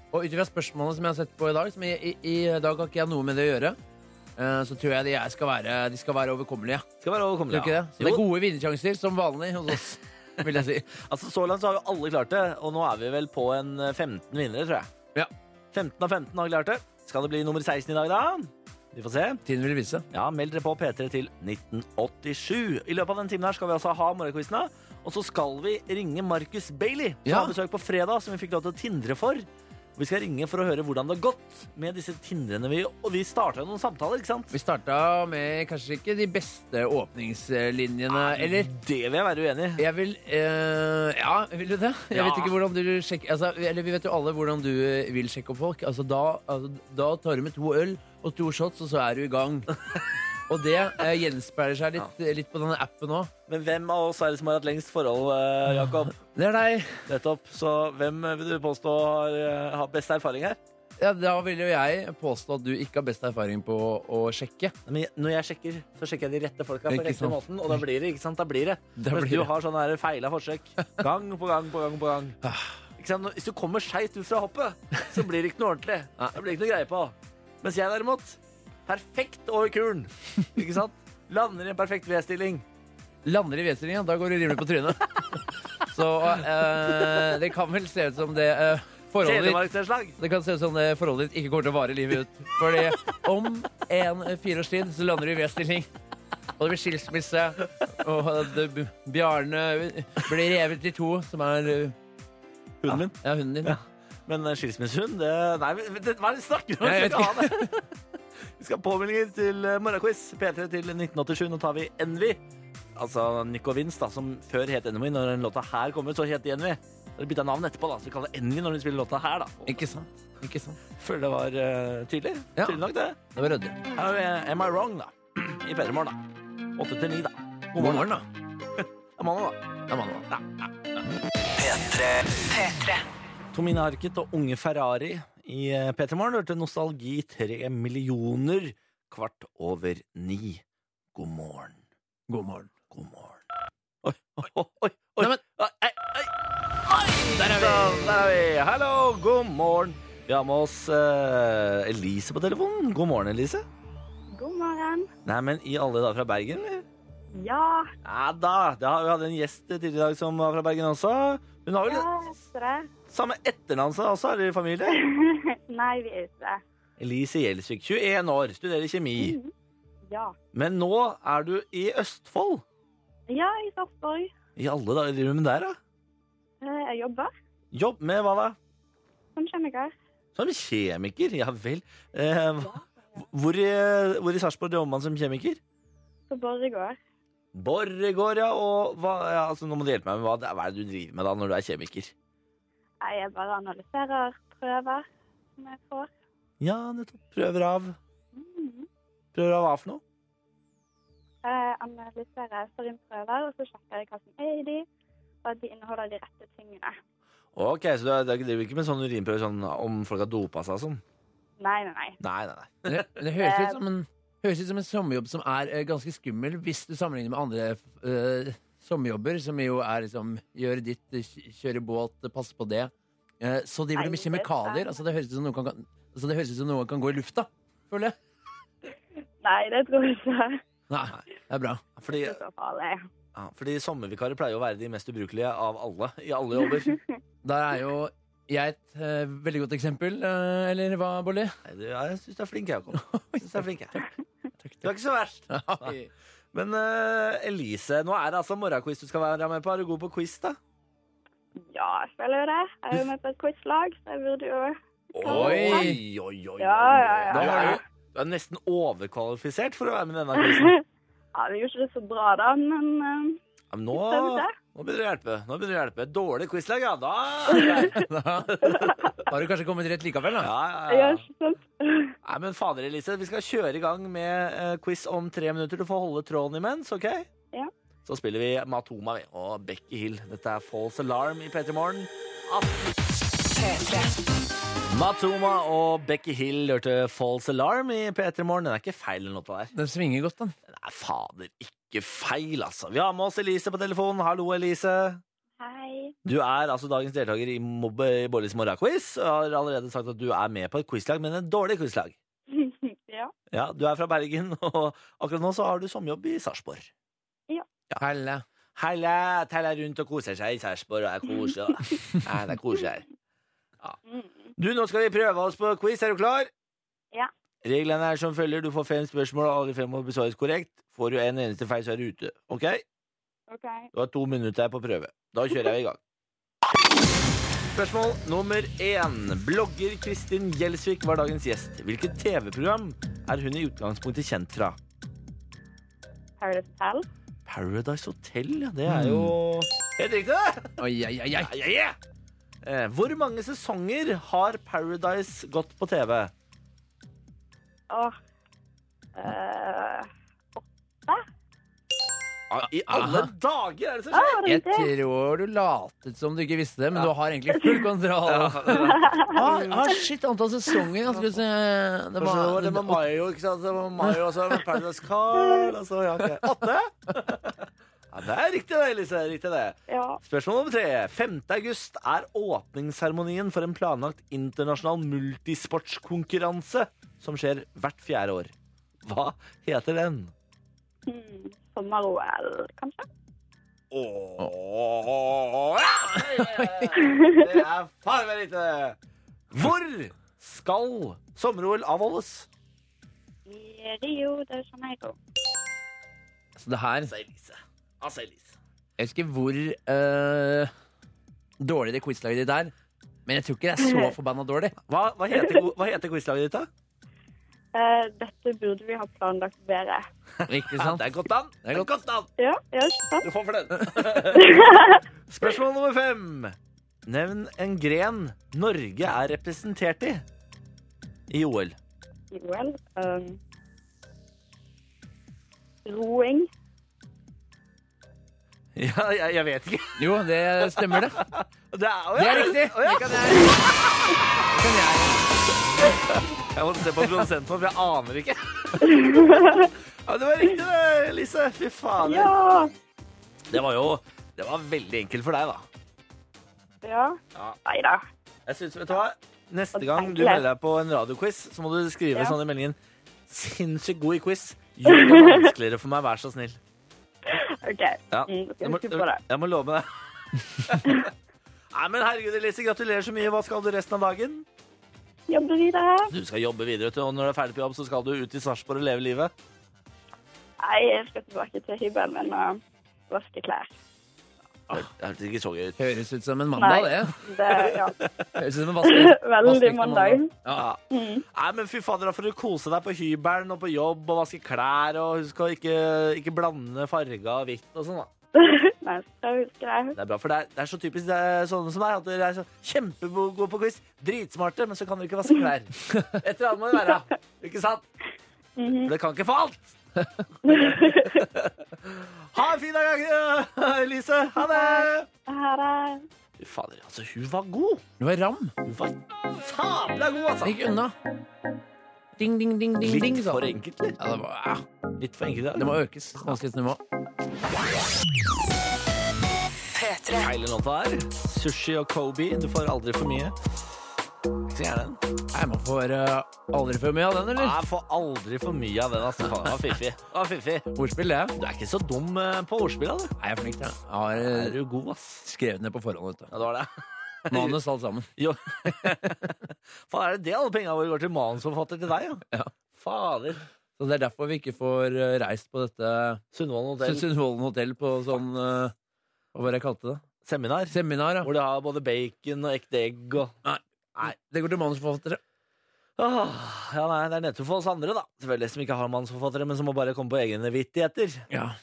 Og ut ifra spørsmålene som jeg har sett på i dag, som i, i, i dag har ikke jeg noe med det å gjøre, eh, så tror jeg de er- skal være, de skal være overkommelige. Skal være overkommelig. Tror du ikke ja. det? Så det Jo. er gode vinnersjanser, som vanlig hos oss, vil jeg si. Altså, Så langt så har jo alle klart det, og nå er vi vel på en eh, 15 vinnere, tror jeg. Ja. 15 av 15 har klart det. Skal det bli nummer 16 i dag, da? Vi får se. Tiden vil vise. Ja, Meld dere på P3 til 1987. I løpet av den timen her skal vi altså ha morgenquizene. Og så skal vi ringe Marcus Bailey, som Ja. har besøk på fredag, som vi fikk lov til å tindre for. Vi skal ringe for å høre hvordan det har gått med disse tindrene. Vi, og vi starta jo noen samtaler, ikke sant? Vi starta med kanskje ikke de beste åpningslinjene, eller Det vil jeg være uenig i. Jeg vil eh, Ja, vil du det? Jeg Ja. vet ikke hvordan du sjekker altså, Eller vi vet jo alle hvordan du vil sjekke opp folk. Altså, da, altså, da tar du med to øl og to shots, og så er du i gang. Og det eh, gjenspeiler seg litt, litt på denne appen òg. Men hvem av oss er det som har hatt lengst forhold, eh, Jakob? Det er deg. Nettopp. Så hvem vil du påstå har, eh, har best erfaring her? Ja, da vil jo jeg påstå at du ikke har best erfaring på å, å sjekke. Men jeg- når jeg sjekker, så sjekker jeg de rette folka på Ikke rette sant. måten, og da blir det. ikke sant? Da blir det. Da Mens blir du det. har sånne her feila forsøk. Gang på gang på gang på gang. Ah. Ikke sant? Når- Hvis du kommer skeivt ut fra hoppet, så blir det ikke noe ordentlig. Da blir det ikke noe greie på. Mens jeg derimot, perfekt over kulen. Ikke sant? Lander i en perfekt V-stilling. Lander i vedstillingen, da går du rimelig på trynet. Så eh, det kan vel se ut som det eh, forholdet ditt Telemarksnedslag. Det kan se ut som det forholdet ditt ikke kommer til å vare livet ut. Fordi om en fireårs tid så lander du i V-stilling. Og det blir skilsmisse. Og det, Bjarne blir revet i to, som er Hunden min. ja, hunden din. Men eh, skilsmissehund, det Nei, men- men det- hva er det du snakker om? Jeg Vi vet skal ikke ha det. Vi skal ha påmeldinger til eh, morgenquiz. P3 til 1987. Nå tar vi Envy. Altså Nico Vince, da, som før het Envy. Når den låta her kom ut, så het de Envy. Så har De bytta navn etterpå, da, så vi kaller det Envy når de spiller låta her. da Jeg Ikke sant? Ikke sant? føler det var eh, tydelig. Ja. Tydelig nok, det. Det var Rødde. Her er eh, Am I Wrong, da. I P3 Morgen, da. Åtte til ni, da. God morgen, da. Det er mandag, da. Det er mandag. da. P3. P3. Tomine Harket og Unge Ferrari i P3 Morgen hørte Nostalgi 3 millioner kvart over ni. God morgen. God morgen. God morgen. Oi, oi, oi! oi. Nei, men- Oi, ei, ei. Oi, Der er vi! Der er vi. Hallo, god morgen. Vi har med oss eh, Elise på telefonen. God morgen, Elise. God morgen. Nei, men i alle dager fra Bergen, eller? Ja, Ja da. Det har, vi hadde en gjest tidligere i dag som var fra Bergen også. Hun har vel ja, heter det. samme etternavn som deg også, er dere i familie? Nei, vi er ikke det. Elise Gjelsvik, 21 år, studerer kjemi. Ja. Men nå er du i Østfold. Ja, i Sarpsborg. I alle dager driver du med der, da? Eh, Jeg jobber Jobb med hva da? som kjemiker. Som kjemiker, ja vel. Eh, hva- hvor i, hvor i Sarpsborg jobber man som kjemiker? På Borregaard. Borregaard, ja. Og hva, ja, altså, nå må du hjelpe meg med hva, det er- hva er det du driver med da når du er kjemiker? Nei, Jeg bare analyserer prøver som jeg får. Ja, nettopp. Prøver av. Prøver av hva for noe? eh, analyserer stearinprøver, og så sjekker jeg hva som er i de, og at de inneholder de rette tingene. Ok, så du er- du driver ikke med sånn urinprøve sånn om folk har dopa seg og sånn? Nei, nei, nei. Nei, nei, nei. Men Det, men det høres, Eh. ut som en, høres ut som en sommerjobb som er eh, ganske skummel, hvis du sammenligner med andre eh, sommerjobber, som jo er liksom gjøre ditt, eh, kj- kjøre båt, eh, passe på det. Eh, så driver du med Nei, det er kjemikalier. sant. Altså, det høres ut som noe kan, kan- altså, det høres ut som noe kan gå i lufta, føler jeg. Nei, det tror jeg ikke. Nei, det er bra. Fordi, Det er så eh, farlig. ja, fordi sommervikarer pleier å være de mest ubrukelige av alle i alle jobber. Der er jo jeg et eh, veldig godt eksempel, eh, eller hva, Bolli? Nei, du, ja, jeg syns du er flink, Jakob. Jeg synes du er flink, jeg. Du er ikke så verst. Men eh, Elise, nå er det altså morgenquiz du skal være med på. Er du god på quiz, da? Ja, jeg føler jo det. Jeg er jo med på et quizlag, så jeg burde jo Oi, oi, oi. oi. Ja, ja, ja. Da var du, du er nesten overkvalifisert for å være med i denne quizen. Ja, vi gjorde ikke det så bra da, men eh, Ja, men nå, Stemmer det. nå begynner det å hjelpe. Nå begynner det å hjelpe. Et dårlig quizlag, ja. Da er det greit. Da har du kanskje kommet rett likevel, da. ja, jeg ja, gjør ja. ikke sånn. Nei, men fader, Elise, vi skal kjøre i gang med eh, quiz om tre minutter. Du får holde tråden imens, OK? Ja. Så spiller vi Matoma vi, og Becky Hill. Dette er False Alarm i P3 Morgen. Matoma og Becky Hill hørte False Alarm i P3 Morgen. Den er ikke feil, den låta der. Den svinger godt, den. Den er fader ikke feil, altså. Vi har med oss Elise på telefonen. Hallo, Elise. Hei. Du er altså dagens deltaker i Mob- i Borlis morgenquiz. og Har allerede sagt at du er med på et quizlag, men en dårlig quizlag. ja. Ja, Du er fra Bergen, og akkurat nå så har du sommerjobb i Sarpsborg. Helle. Heile, teller rundt og koser seg i Sarpsborg, og er koselig. og- Ja, det er koselig her. Mm. Du, nå skal vi prøve oss på quiz. Er du klar? Ja. Reglene er som følger. Du får fem spørsmål, og alle fem må besvares korrekt. Får du en eneste feil, så er du ute. Ok? OK. Du har to minutter på prøve. Da kjører jeg i gang. Spørsmål nummer én. Blogger Kristin Gjelsvik var dagens gjest. Hvilket TV-program er hun i utgangspunktet kjent fra? Paradise Hotel. Paradise Hotel, ja. Det er jo Helt riktig, det! Oi, oi, oi, oi. Ja, ja, ja. Eh, Hvor mange sesonger har Paradise gått på TV? Åh. Eh, Ah, I alle Aha. dager, er det som ah, skjer? var det Jeg riktig? tror du latet som du ikke visste det, men du har egentlig full kontroll. ah, ah, shit, antall sesonger jeg skulle se. Det Kanskje var, det var Mayo, ikke sant? Det var Mayo, og så var det Paradise Carl, og så ja, ok. Åtte? Ja, det er riktig det, Elise. Riktig det. Ja. Spørsmål nummer tre. 5. august er åpningsseremonien for en planlagt internasjonal multisportskonkurranse som skjer hvert fjerde år. Hva heter den? Hmm. Sommer-OL, kanskje? Ååå Det er faen meg lite! Hvor skal sommer-OL avholdes? I Rio de Janeiro. Så det her Altså, Elise. Altså, Elise. Jeg husker hvor eh, dårlig det quizlaget ditt er. Men jeg tror ikke det er så forbanna dårlig. Hva, hva heter, hva heter quizlaget ditt, da? Eh, dette burde vi ha planlagt bedre. Ikke Ja, sant? det er godt an. Det er godt an. Ja, ja, ikke sant? Du får for den. Spørsmål nummer fem. Nevn en gren Norge er representert i i OL. I OL. Um, roing. Ja, jeg, jeg vet ikke. Jo, det stemmer, det. Det er, å, Det ja. er riktig! Å, ja. Det kan jeg. Det kan jeg. Jeg måtte se på produsenten vår, for jeg aner ikke. Ja, det var riktig, det, Lise. Fy faen. Ja! Det var jo det var veldig enkelt for deg, da. ja. Ja. Nei da. Jeg synes, vet du hva? Neste gang du melder deg på en radioquiz, så må du skrive Ja. sånn i meldingen. Sinnssykt god i quiz. Gjør det vanskeligere for meg, vær så snill. OK. Ja. Mm, da skal Jeg, jeg må, huske på det. jeg må love deg. Nei, men herregud, Elise, gratulerer så mye. Hva skal du resten av dagen? Jobbe videre. Du skal jobbe videre, vet du, og når du er ferdig på jobb, så skal du ut i Sarpsborg og leve livet. Nei, jeg skal tilbake til hybelen min og vaske klær. Det hørtes ikke så gøy ut. Høres ut som en mandag, Nei. det. Det, ja. Høres ut som en vaske. Veldig vaskekte mandag. Ja. Nei, men fy fader, da får du kose deg på hybelen og på jobb og vaske klær, og husk å ikke, ikke blande farga og hvitt og sånn, da. Nei, skal jeg huske det. Det er bra, for det er, det er så typisk det er sånne som deg, at dere er så kjempegode på quiz, dritsmarte, men så kan dere ikke vaske klær. Et eller annet må det være, ikke sant? For det kan ikke få alt! Ha en fin dag, eh, Elise! Ha det! Ha det. Fy Fader, altså, hun var god! Det var ram. Hun var sabla god, altså! Den gikk unna. Ding, ding, ding, ding, ding. Litt sa for den. enkelt, eller? Ja, det, var, ja, Litt for enkelt, det eller? må økes. Vanskelighetsnivå. P3. Feil låta her. Sushi og Kobe. Du får aldri for mye. Så gjerne den. Nei, Man får eh, aldri for mye av den, eller? Jeg får aldri for mye av den, altså. Faen, det var fiffig. Det var fiffig. Ordspill, det. Du er ikke så dum eh, på ordspill, da, du. Nei, jeg er flink, jeg. Jeg har Er eh, du god, ass? skrevet ned på forhånd. Vet du. Ja, det var det. Manus, alt sammen. Jo. Faen, er det det alle pengene våre går til manusforfatter til deg, ja? Ja. Fader. Så Det er derfor vi ikke får eh, reist på dette Sundvolden Sund- hotell. Sundvolden hotell på sånn eh, Hva var det jeg kalte det? Seminar. Seminar, ja. Hvor de har både bacon og ekte egg og Nei, det går til manusforfattere. Åh, Ja, nei, det er nettopp for oss andre, da. Selvfølgelig, som ikke har manusforfattere, men som må bare komme på egne vittigheter. Ja.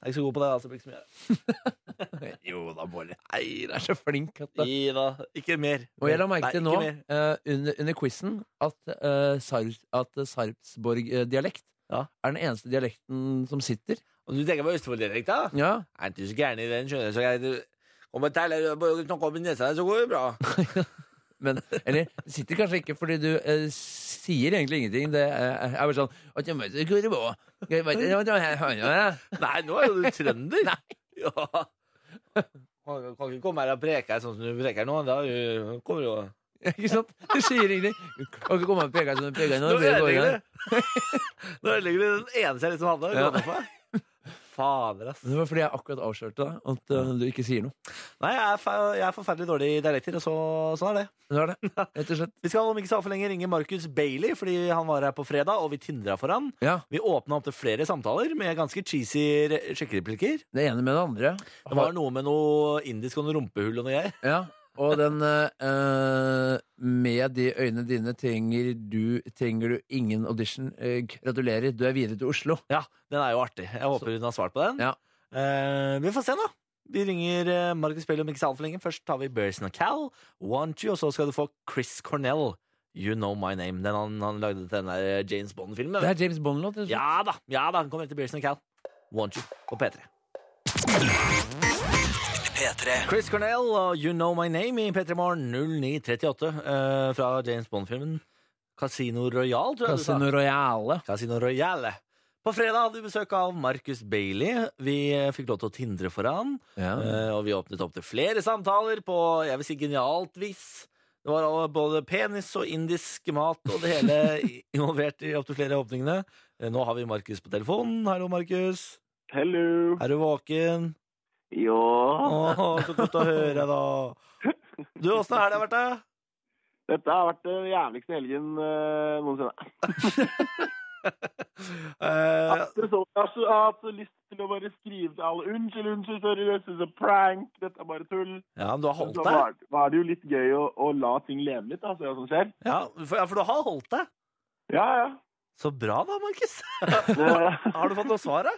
Ja, jeg er ikke så god på det, da, så det blir ikke så mye. Jo da, Bård. Nei, du er så flink. At det. Gi da. Ikke mer. Og jeg la merke til Nei, nå, ikke mer. eh, under, under quizen, at, eh, Sar at eh, Sarpsborg-dialekt Ja. er den eneste dialekten som sitter. Og du tenker på Østfold-dialekt, da? Ja. Er ikke du så gæren i den, skjønner du. Så jeg, du kommer til, eller, bare snakker med nesa, så går det bra. Men, eller det sitter kanskje ikke, fordi du eh, sier egentlig ingenting. Det eh, er bare sånn «Å, jeg vet ikke hvor det var. Jeg vet ikke hva det var her». Nei, nå er jo du trønder. Nei. Ja. Kan kan ikke komme her og preke sånn som du preker nå. Da eh, kommer jo Ikke sant? Du sier ingenting. Du Kan ikke komme og peke som du peker nå. Nå det blir det dårlig. ødelegger du Nå ødelegger du den eneste jeg liksom hadde. Ja. gående på. Fader, ass. Men Det var fordi jeg akkurat avslørte deg at eh, du ikke sier noe. Nei, jeg er, fe- jeg er forferdelig dårlig i dialekter, og så, sånn er det. Men Det var det, rett og slett. Vi skal om ikke så altfor lenge ringe Marcus Bailey, fordi han var her på fredag, og vi tindra for han. Ja, Vi åpna opp til flere samtaler med ganske cheesy re- sjekkereplikker. Det ene med det andre. Det var noe med noe indisk og noe rumpehull og noe greier. Ja, og den eh, eh, Med de øynene dine trenger du, trenger du ingen audition. Eh, gratulerer, du er videre til Oslo. Ja, den er jo artig. Jeg håper hun har svart på den. Ja. Eh, vi får se, da. Vi ringer eh, Marcus Bailey om ikke så altfor lenge. Først tar vi Burson og Cal, Want You, og så skal du få Chris Cornell, You Know My Name. Den han, han lagde til den der James Bond-filmen. Det er James Bond-låt. rett og slett. Ja da, ja da, han kommer etter Bearson og Cal. Want you på P3. P3. Chris Cornell og You Know My Name i P3 Morgen 0938 eh, fra James Bond-filmen Casino Royale, tror jeg Casino du sa. Royale. Casino Royale. På fredag hadde vi besøk av Marcus Bailey. Vi eh, fikk lov til å tindre for han, Ja. eh, og vi åpnet opp til flere samtaler på jeg vil si genialt vis. Det var all- både penis og indisk mat og det hele involvert i opptil flere åpningene. Eh, Nå har vi Markus på telefonen. Hallo, Markus. Hello. Er du våken? Ja, Åh, så godt å høre, da. Du, åssen har helga vært, da? dette har vært den jævligste helgen eh, noensinne. Eh, Etter så- Jeg har så- jeg har hatt så lyst til å bare skrive til alle unnskyld, unnskyld, sorry, this is a prank, dette er bare tull. ja, men du har Men holdt Så deg? var, var det jo litt gøy å, å la ting leve litt, da, se hva som skjer. Ja, for, ja, for du har holdt deg. Ja, ja. Så bra, da, Markus. Det- Har du fått noe svar, da?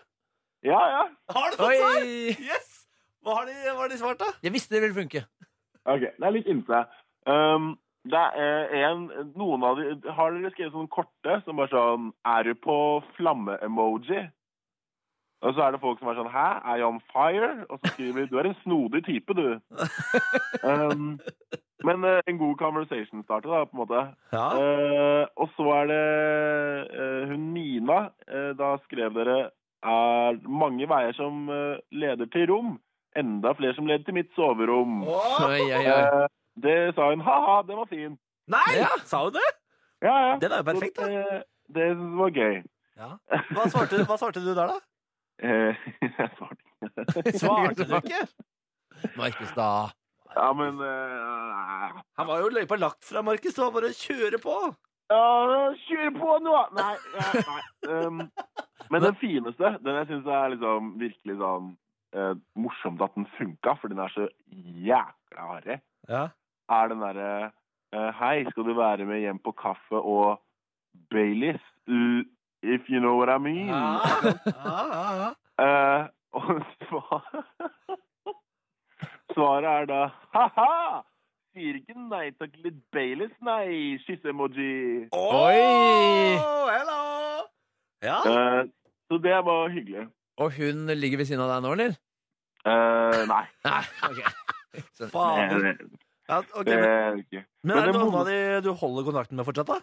Ja, ja. Har du fått svar? Oi! Yes! Hva har de, hva har de svart, da? Jeg visste det ville funke. Ok, det er litt innse. Um, det er eh, en, noen av de, har dere skrevet sånne korte som bare sånn, er du på flamme-emoji? Og så er det folk som er sånn, hæ, er jeg on fire? Og så skriver de, du er en snodig type, du. Um, men eh, en god conversation starter da, på en måte. Ja. Eh, og så er det eh, hun Nina, eh, da skrev dere, er mange veier som eh, leder til rom, enda flere som leder til mitt soverom. Åh, Oi, oi, oi. Eh, det sa hun. Ha-ha, den var fin. nei! Sa hun det? Ja, ja. Den er jo perfekt, Så da. det. Det synes jeg var gøy. Hva svarte, hva svarte du der, da? Eh, jeg svarte ikke. Svarte du ikke? Markus, da. Ja, men eh, Han var jo løypa lagt fra, Markus. Det var bare å kjøre på. ja, Kjør på nå! Nei. ja, nei. Um, men den fineste, den jeg syns er liksom virkelig sånn eh, morsomt at den funka, for den er så jækla harry, Ja. er den derre eh, Hei, skal du være med hjem på kaffe og Baileys? L- If you know what I mean. Eh, og svar... svaret er da ha-ha! Sier ikke nei takk til litt Baileys, nei, kysse-emoji. Oi! Hello! Ja. Eh, Så det var hyggelig. Og hun ligger ved siden av deg nå, eller? Eh, nei. Nei, ok. Sånn. Det, Fader. det, Ja, ok, det men, er ikke. Eh, men er det noen moro- av de du holder kontakten med fortsatt, da?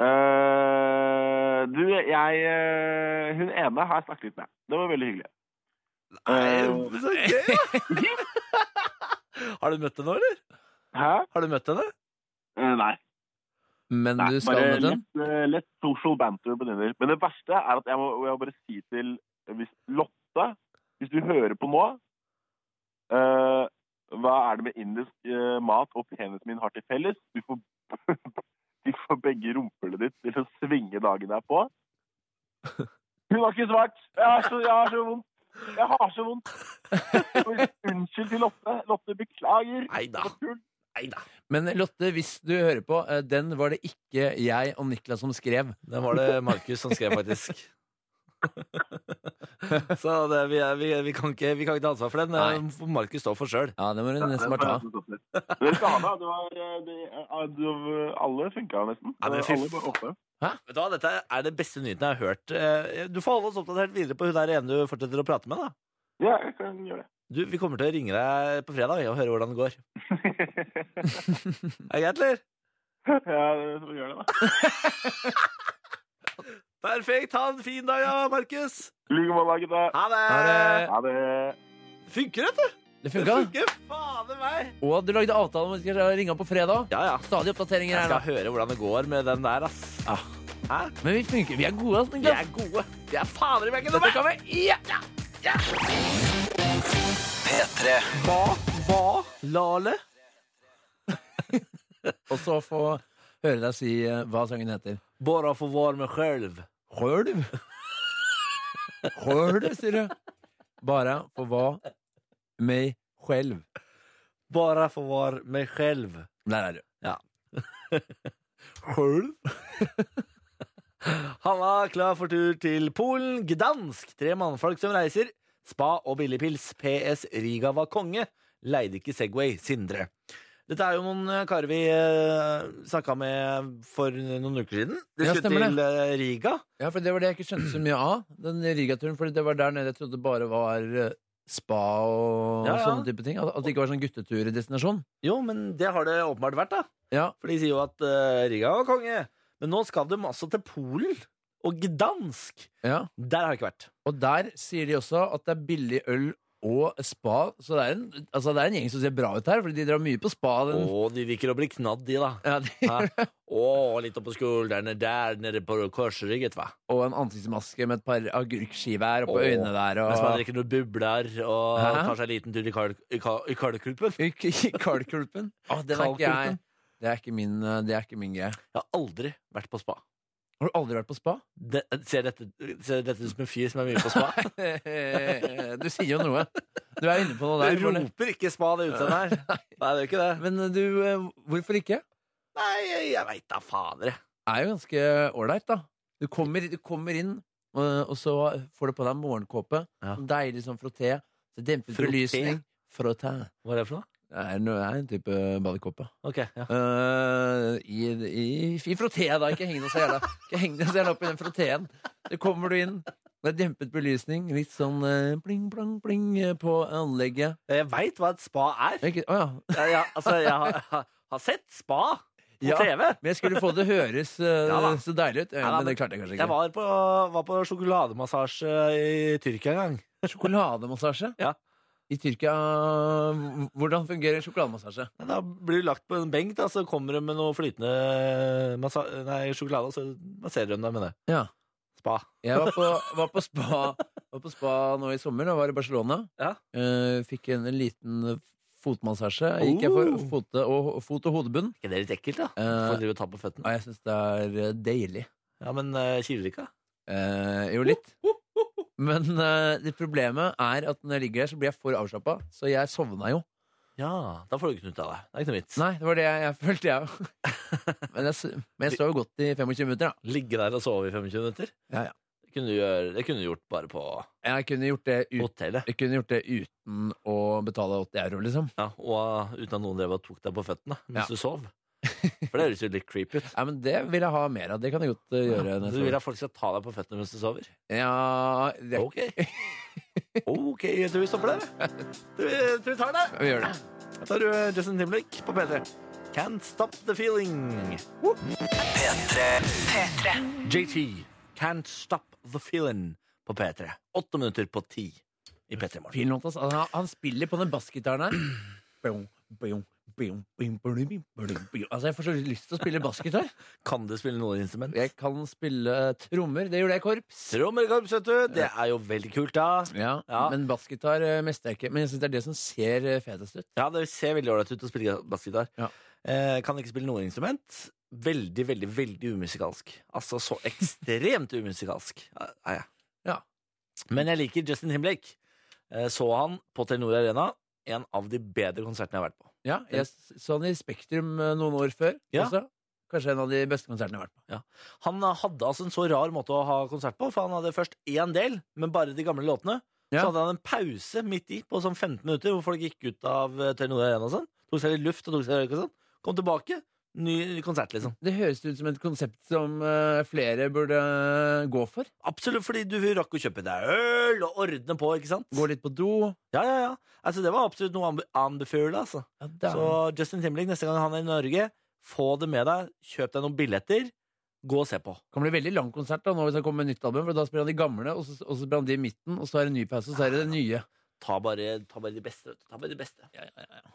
Eh, du, jeg eh, Hun ene har jeg snakket litt med. Det var veldig hyggelig. Eh, Så gøy, da! Har du møtt henne nå, eller? hæ? Har du møtt henne? Eh, nei. Men nei. du skal Bare møte henne? lett, eh, lett social banter på dinner. Men det verste er at jeg må, jeg må bare si til eh, hvis, Lotte Hvis du hører på nå eh, Hva er det med indisk eh, mat og penisen min har til felles? Du får, du får begge rumpelet ditt til å svinge dagen derpå. Hun har ikke svart! Jeg har så, jeg har så vondt. Jeg har så vondt. Unnskyld til Lotte. Lotte, beklager. Nei da. Det var tull. Men Lotte, hvis du hører på, eh, den var det ikke jeg og Niklas som skrev. Den var det Markus som skrev, faktisk. Så det, vi, er, vi, vi, kan ikke, vi kan ikke ta ansvar for den. Nei. Det får Markus stå for sjøl. Ja, det må du nesten bare ta. Dere skal ha meg. Det var, eh, det, eh, det- alle funka nesten. Ja, men fy alle bare oppe. Vet du hva, Dette er det beste nyheten jeg har hørt. Eh, Du får holde oss oppdatert videre på hun der ene du fortsetter å prate med. da. Ja, jeg kan gjøre det. Du, Vi kommer til å ringe deg på fredag og høre hvordan det går. Er det greit, eller? ja, det- så gjør det, da. Perfekt! Ha en fin dag, ja, Markus! I like måte, gutta. Ha det! Ha det. Ha det. Funker, dette? Det Det funka. funker fader meg! Og du lagde avtale om at vi skal ringe opp på fredag. Ja, ja. Stadig oppdateringer Jeg her, skal da. høre hvordan det går med den der, ass. Hæ? Men vi funker. Vi er gode, altså, Vi Niklas. er gode. Vi er fader i veggen! Dette kan vi P3. Hva var Lale? Og så få høre deg si eh, hva sangen heter. Bara få vara med själv. Hølv. Hølv, sier du. Bare for hva meg selv. Bara få vara med själv. Der er du. Själv? Hanna klar for tur til Polen. Gdansk. Tre mannfolk som reiser. Spa og billigpils. PS Riga var konge. Leide ikke Segway. Sindre. Dette er jo noen eh, karer vi eh, snakka med for noen uker siden. De Ja, skulle stemmer det. til eh, Riga. Ja, for det var det jeg ikke skjønte så mye av. Den rigaturen, for det var der nede jeg trodde det bare var eh, spa og Ja, ja. sånne type ting. At at det ikke var sånn guttetur-destinasjon. Jo, men det har det åpenbart vært, da. Ja. For de sier jo at eh, Riga var konge. Men nå skal de altså til Polen og Gdansk. ja. Der har jeg ikke vært. Og der sier de også at det er billig øl og spa. Så det er en, altså det er en gjeng som ser bra ut her, Fordi de drar mye på spa. Den. Å, de liker å bli knadd, de, da. Ja, de, Hæ? Å, litt oppå skuldrene der nede på korsrygget, hva. og en ansiktsmaske med et par agurkskiver oppå Åh. øynene der. Mens man Og drikker noen bubler og Hæ? tar seg en liten tur i kal- i ka- i kalkulpen. Jeg I- i Kalkulpen. Å, den er ikke jeg. Kalkulpen. Det er ikke min, eh, det er ikke min greie. har aldri vært på spa. Har du aldri vært på spa? Det, ser, dette, ser dette ut som en fyr som er mye på spa? du sier jo noe. Du er inne på noe Det der. Bård. roper ikke spa, det utseendet her. Nei, det gjør ikke det. Men eh, du, eh, hvorfor ikke? Nei, jeg veit da fader, jeg. er jo ganske ålreit, da. Du kommer, du kommer inn, og, og så får du på deg morgenkåpe. Ja. Sånn Deilig sånn frotté. Så dempet Frotté? belysning. Frotté. Hva er det for noe? Det er, noe, det er en type badekåpe. Ok, ja. Eh, i, i, I frottéa, da. Ikke heng deg så jævla Ikke heng deg så jævla opp i den frottéen. Så kommer du inn med dempet belysning, litt sånn eh, pling, plang, pling eh, på anlegget. Jeg veit hva et spa er. Ikke, å ja. Jeg, jeg, altså, jeg har, har- har sett spa på Ja. TV. Men jeg skulle få det høres eh, Ja da. så deilig ut. Eh, Ja da, men det men klarte jeg kanskje Jeg ikke. var på, var på sjokolademassasje i Tyrkia en gang. Sjokolademassasje? Ja. I Tyrkia h- Hvordan fungerer sjokolademassasje? Da blir du lagt på en benk, da, så kommer de med noe flytende massa nei, sjokolade, og så masserer de deg med det. Ja. Spa. Jeg var på, var, på spa, var på spa nå i sommer. Da var i Barcelona. Ja. Eh, fikk en liten fotmassasje. Gikk jeg for Oh. fote og, fot- og hodebunn. Er ikke det litt ekkelt, da? Eh. Får drive og ta på Og føttene. jeg syns det er eh, deilig. Ja, men eh, kiler det ikke, da? Eh, jo, litt. Men eh, det problemet er at når jeg ligger der, så blir jeg for avslappa. Så jeg sovna jo. Ja, da får du ikke noe ut av det. Det er ikke noe vits. Nei, det var det jeg, jeg følte, jeg òg. Men jeg, s- men jeg sov jo godt i 25 minutter, da. Ligge der og sove i 25 minutter? Ja, ja. Det kunne du, gjøre, det kunne du gjort bare på Jeg kunne gjort det uten hotellet. Jeg kunne gjort det uten å betale 80 euro, liksom. Ja, og uten at noen drev og tok deg på føttene mens Ja. du sov. For det høres jo litt creepy ut. Ja, men det vil jeg ha mer av. Det kan jeg godt eh, gjøre Så neste du vil år. at folk skal ta deg på føttene mens du sover? Ja, det, Ok. Ok, jeg tror vi stopper der. jeg. Tror vi, tror vi tar det. vi gjør det. Da tar du eh, Justin Timberlake på P3. Can't stop the feeling. Woo. JT. Can't stop the feeling på P3. Åtte minutter på ti i P3 Morgen. Fin låt, ass. altså. Han, han spiller på den bassgitaren her. Boom, boom, boom, boom, boom, boom, boom. Altså, jeg får så lyst til å spille bassgitar. Kan du spille noe instrument? Jeg kan spille eh, trommer. Det gjorde jeg i korps. Trommekorps, vet du. Det er jo veldig kult, da. Ja, Ja. Men bassgitar eh, mester jeg ikke. Men jeg synes det er det som ser eh, fetest ut. Ja, det ser veldig ålreit ut å spille bassgitar. Ja. Eh, kan ikke spille noe instrument. Veldig, veldig, veldig umusikalsk. Altså så ekstremt umusikalsk er jeg. Ja. Men jeg liker Justin Timberlake. Eh, så han på Telenor Arena. En av de bedre konsertene jeg har vært på. Ja, jeg s- så han i Spektrum eh, noen år før Ja. også. Kanskje en av de beste konsertene jeg har vært på. Han hadde altså en så rar måte å ha konsert på, for han hadde først én del, men bare de gamle låtene. Så Ja. hadde han en pause midt i på sånn 15 minutter, hvor folk gikk ut av eh, Telenor Arena og sånn. Tok seg litt luft og tok seg røyk og sånn. Kom tilbake. Ny konsert, liksom. Det høres ut som et konsept som eh, flere burde eh, gå for. Absolutt, fordi du rakk å kjøpe deg øl og ordne på, ikke sant? Gå litt på do. Ja, ja, ja. Altså, det var absolutt noe å anbe- anbefale, altså. Ja, da- Så Justin Timberlake, neste gang han er i Norge, få det med deg, kjøp deg noen billetter, gå og se på. Det kan bli veldig lang konsert da, nå hvis han kommer med nytt album, for da spiller han de gamle, og så, og så spiller han de i midten, og så er det en ny pause, og så er det det nye. Ta bare, ta bare de beste, vet du. Ta bare de beste.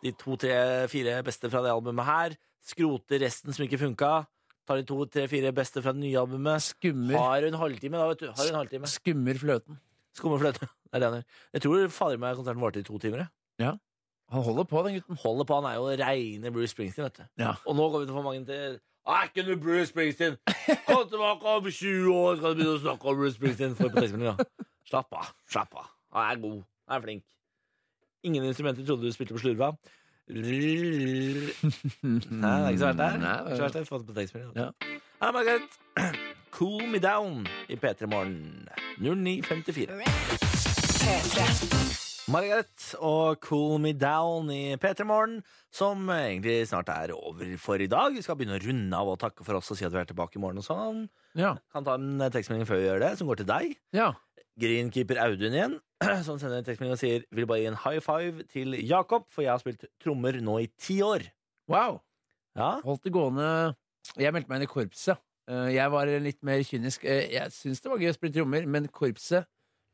De to, tre, fire beste fra det albumet her, skrote resten som ikke funka, ta de to, tre, fire beste fra det nye albumet. Skummer, Har en halvtime da, vet du. Har en halvtime. skummer fløten. Skummer fløte. Det er det han gjør. Jeg tror fader meg konserten varte i to timer, jeg. Han holder på, den gutten. holder på, han er jo reine Bruce Springsteen, vet du. Ja. Og nå kommer vi til å få mange til Er ikke du Bruce Springsteen? Kom tilbake om 20 år, skal du begynne å snakke om Bruce Springsteen. For på tekstmelding, da. Slapp av. Slapp av. Han er god. Han er flink. Ingen instrumenter trodde du spilte på slurva. Nei, det er ikke så verst, det. her. Nei, Det er ikke så verst, Mm, det. Få det på tekstmelding. altså. Ja. Hei, Margaret. Cool me down i P3 Morgen. 09.54. Margaret og Cool Me Down i P3 Morgen, som egentlig snart er over for i dag. Vi skal begynne å runde av og takke for oss og si at vi er tilbake i morgen og sånn. Ja. Kan ta en eh, tekstmelding før vi gjør det, som går til deg. ja. Greenkeeper Audun igjen, som sender en tekstmelding og sier vil bare gi en high five til Jakob, for jeg har spilt trommer nå i ti år. Wow. Ja, Holdt det gående. Jeg meldte meg inn i korpset. Eh, Jeg var litt mer kynisk. Eh, Jeg synes det var gøy å spille trommer, men korpset,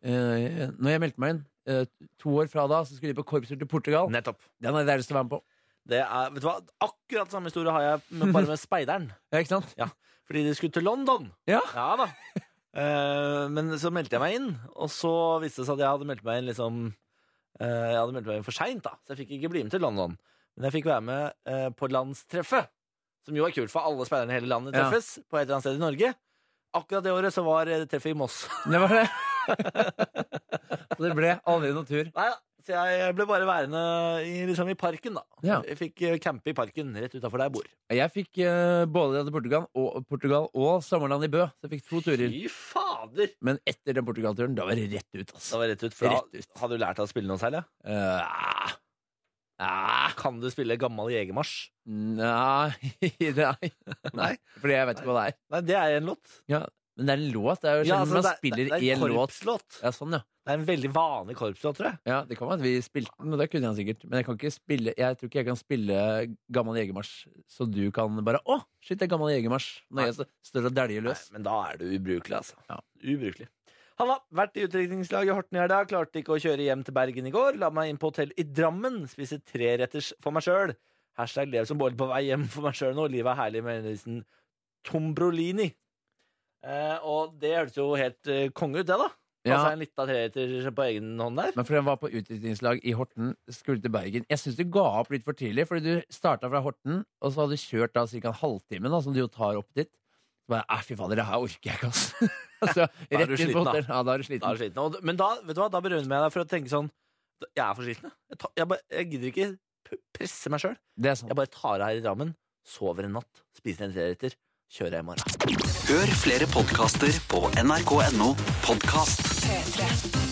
eh, når jeg meldte meg inn, eh, to år fra da, så skulle de på korpset til Portugal. nettopp. Den hadde jeg lyst til å være med på. Det er, vet du hva, akkurat samme historie har jeg, men bare med speideren. Ja, ikke sant? Ja. Fordi de skulle til London. Ja. da. Eh, men så meldte jeg meg inn, og så viste det seg at jeg hadde meldt meg inn liksom eh, Jeg hadde meldt meg inn for seint, da, så jeg fikk ikke bli med til London. Men jeg fikk være med eh, på landstreffet, som jo er kult, for alle speiderne i hele landet Ja. treffes på et eller annet sted i Norge. Akkurat det året så var eh, treffet i Moss. Det var det. Og det ble aldri noen tur. Nei da. Så jeg ble bare værende i, liksom i parken, da. Ja. Jeg fikk eh, campe i parken rett utafor der jeg bor. Jeg fikk eh, både til Portugal og, Portugal og sommerland i Bø. Så jeg fikk to turer. Fy fader! Men etter den Portugal-turen, da var det rett ut, Det altså. var rett ut. For Rett da, ut. hadde du lært deg å spille noe særlig? Eh, Ah. Kan du spille gammel jegermarsj? nei, nei. nei. Fordi jeg vet ikke hva det er. Nei, det er en låt. Men det er en låt. Det er jo sjelden Ja, altså, man det er- det spiller er en én låt. korpslåt. Ja, sånn, ja. Det er en veldig vanlig korpslåt, tror jeg. ja. Det kan være at vi spilte den, og det kunne jeg sikkert. Men jeg kan ikke spille Jeg tror ikke jeg kan spille Gammal jegermarsj, så du kan bare Å, shit, det er Gammal jegermarsj. Når jeg står og dæljer Nei, løs. men da er det ubrukelig, altså. Ja. Ubrukelig. Halla, vært i utdrikningslag i Horten i helga. Klarte ikke å kjøre hjem til Bergen i går. La meg inn på hotell i Drammen. Spise treretters for meg sjøl. Hashtag lev som bolle på vei hjem for meg sjøl nå. Livet er herlig med hilsen Tombrolini. Eh, og det hørtes jo helt eh, konge ut, det, da. Ja. Ja. Altså en lita treretter på egen hånd der. Men fordi han var på utdrikningslag i Horten, skulle til Bergen. Jeg syns du ga opp litt for tidlig, fordi du starta fra Horten, og så hadde du kjørt da ca. en halvtime, da, som du jo tar opp dit. Så bare Æh, fy fader, det her orker jeg ikke, ass. altså, er rett du inn sliten, på da. hotell. Ja, da er du Da er sliten. du sliten. Og, men da, vet du hva, da berømmer jeg deg for å tenke sånn Jeg er for sliten, jeg. Jeg, tar, jeg, bare, jeg gidder ikke p- presse meg sjøl. Det er sant. Jeg bare tar av her i Drammen, sover en natt, spiser en treretter, kjører jeg i morgen. Hør flere podkaster på nrk.no podkast.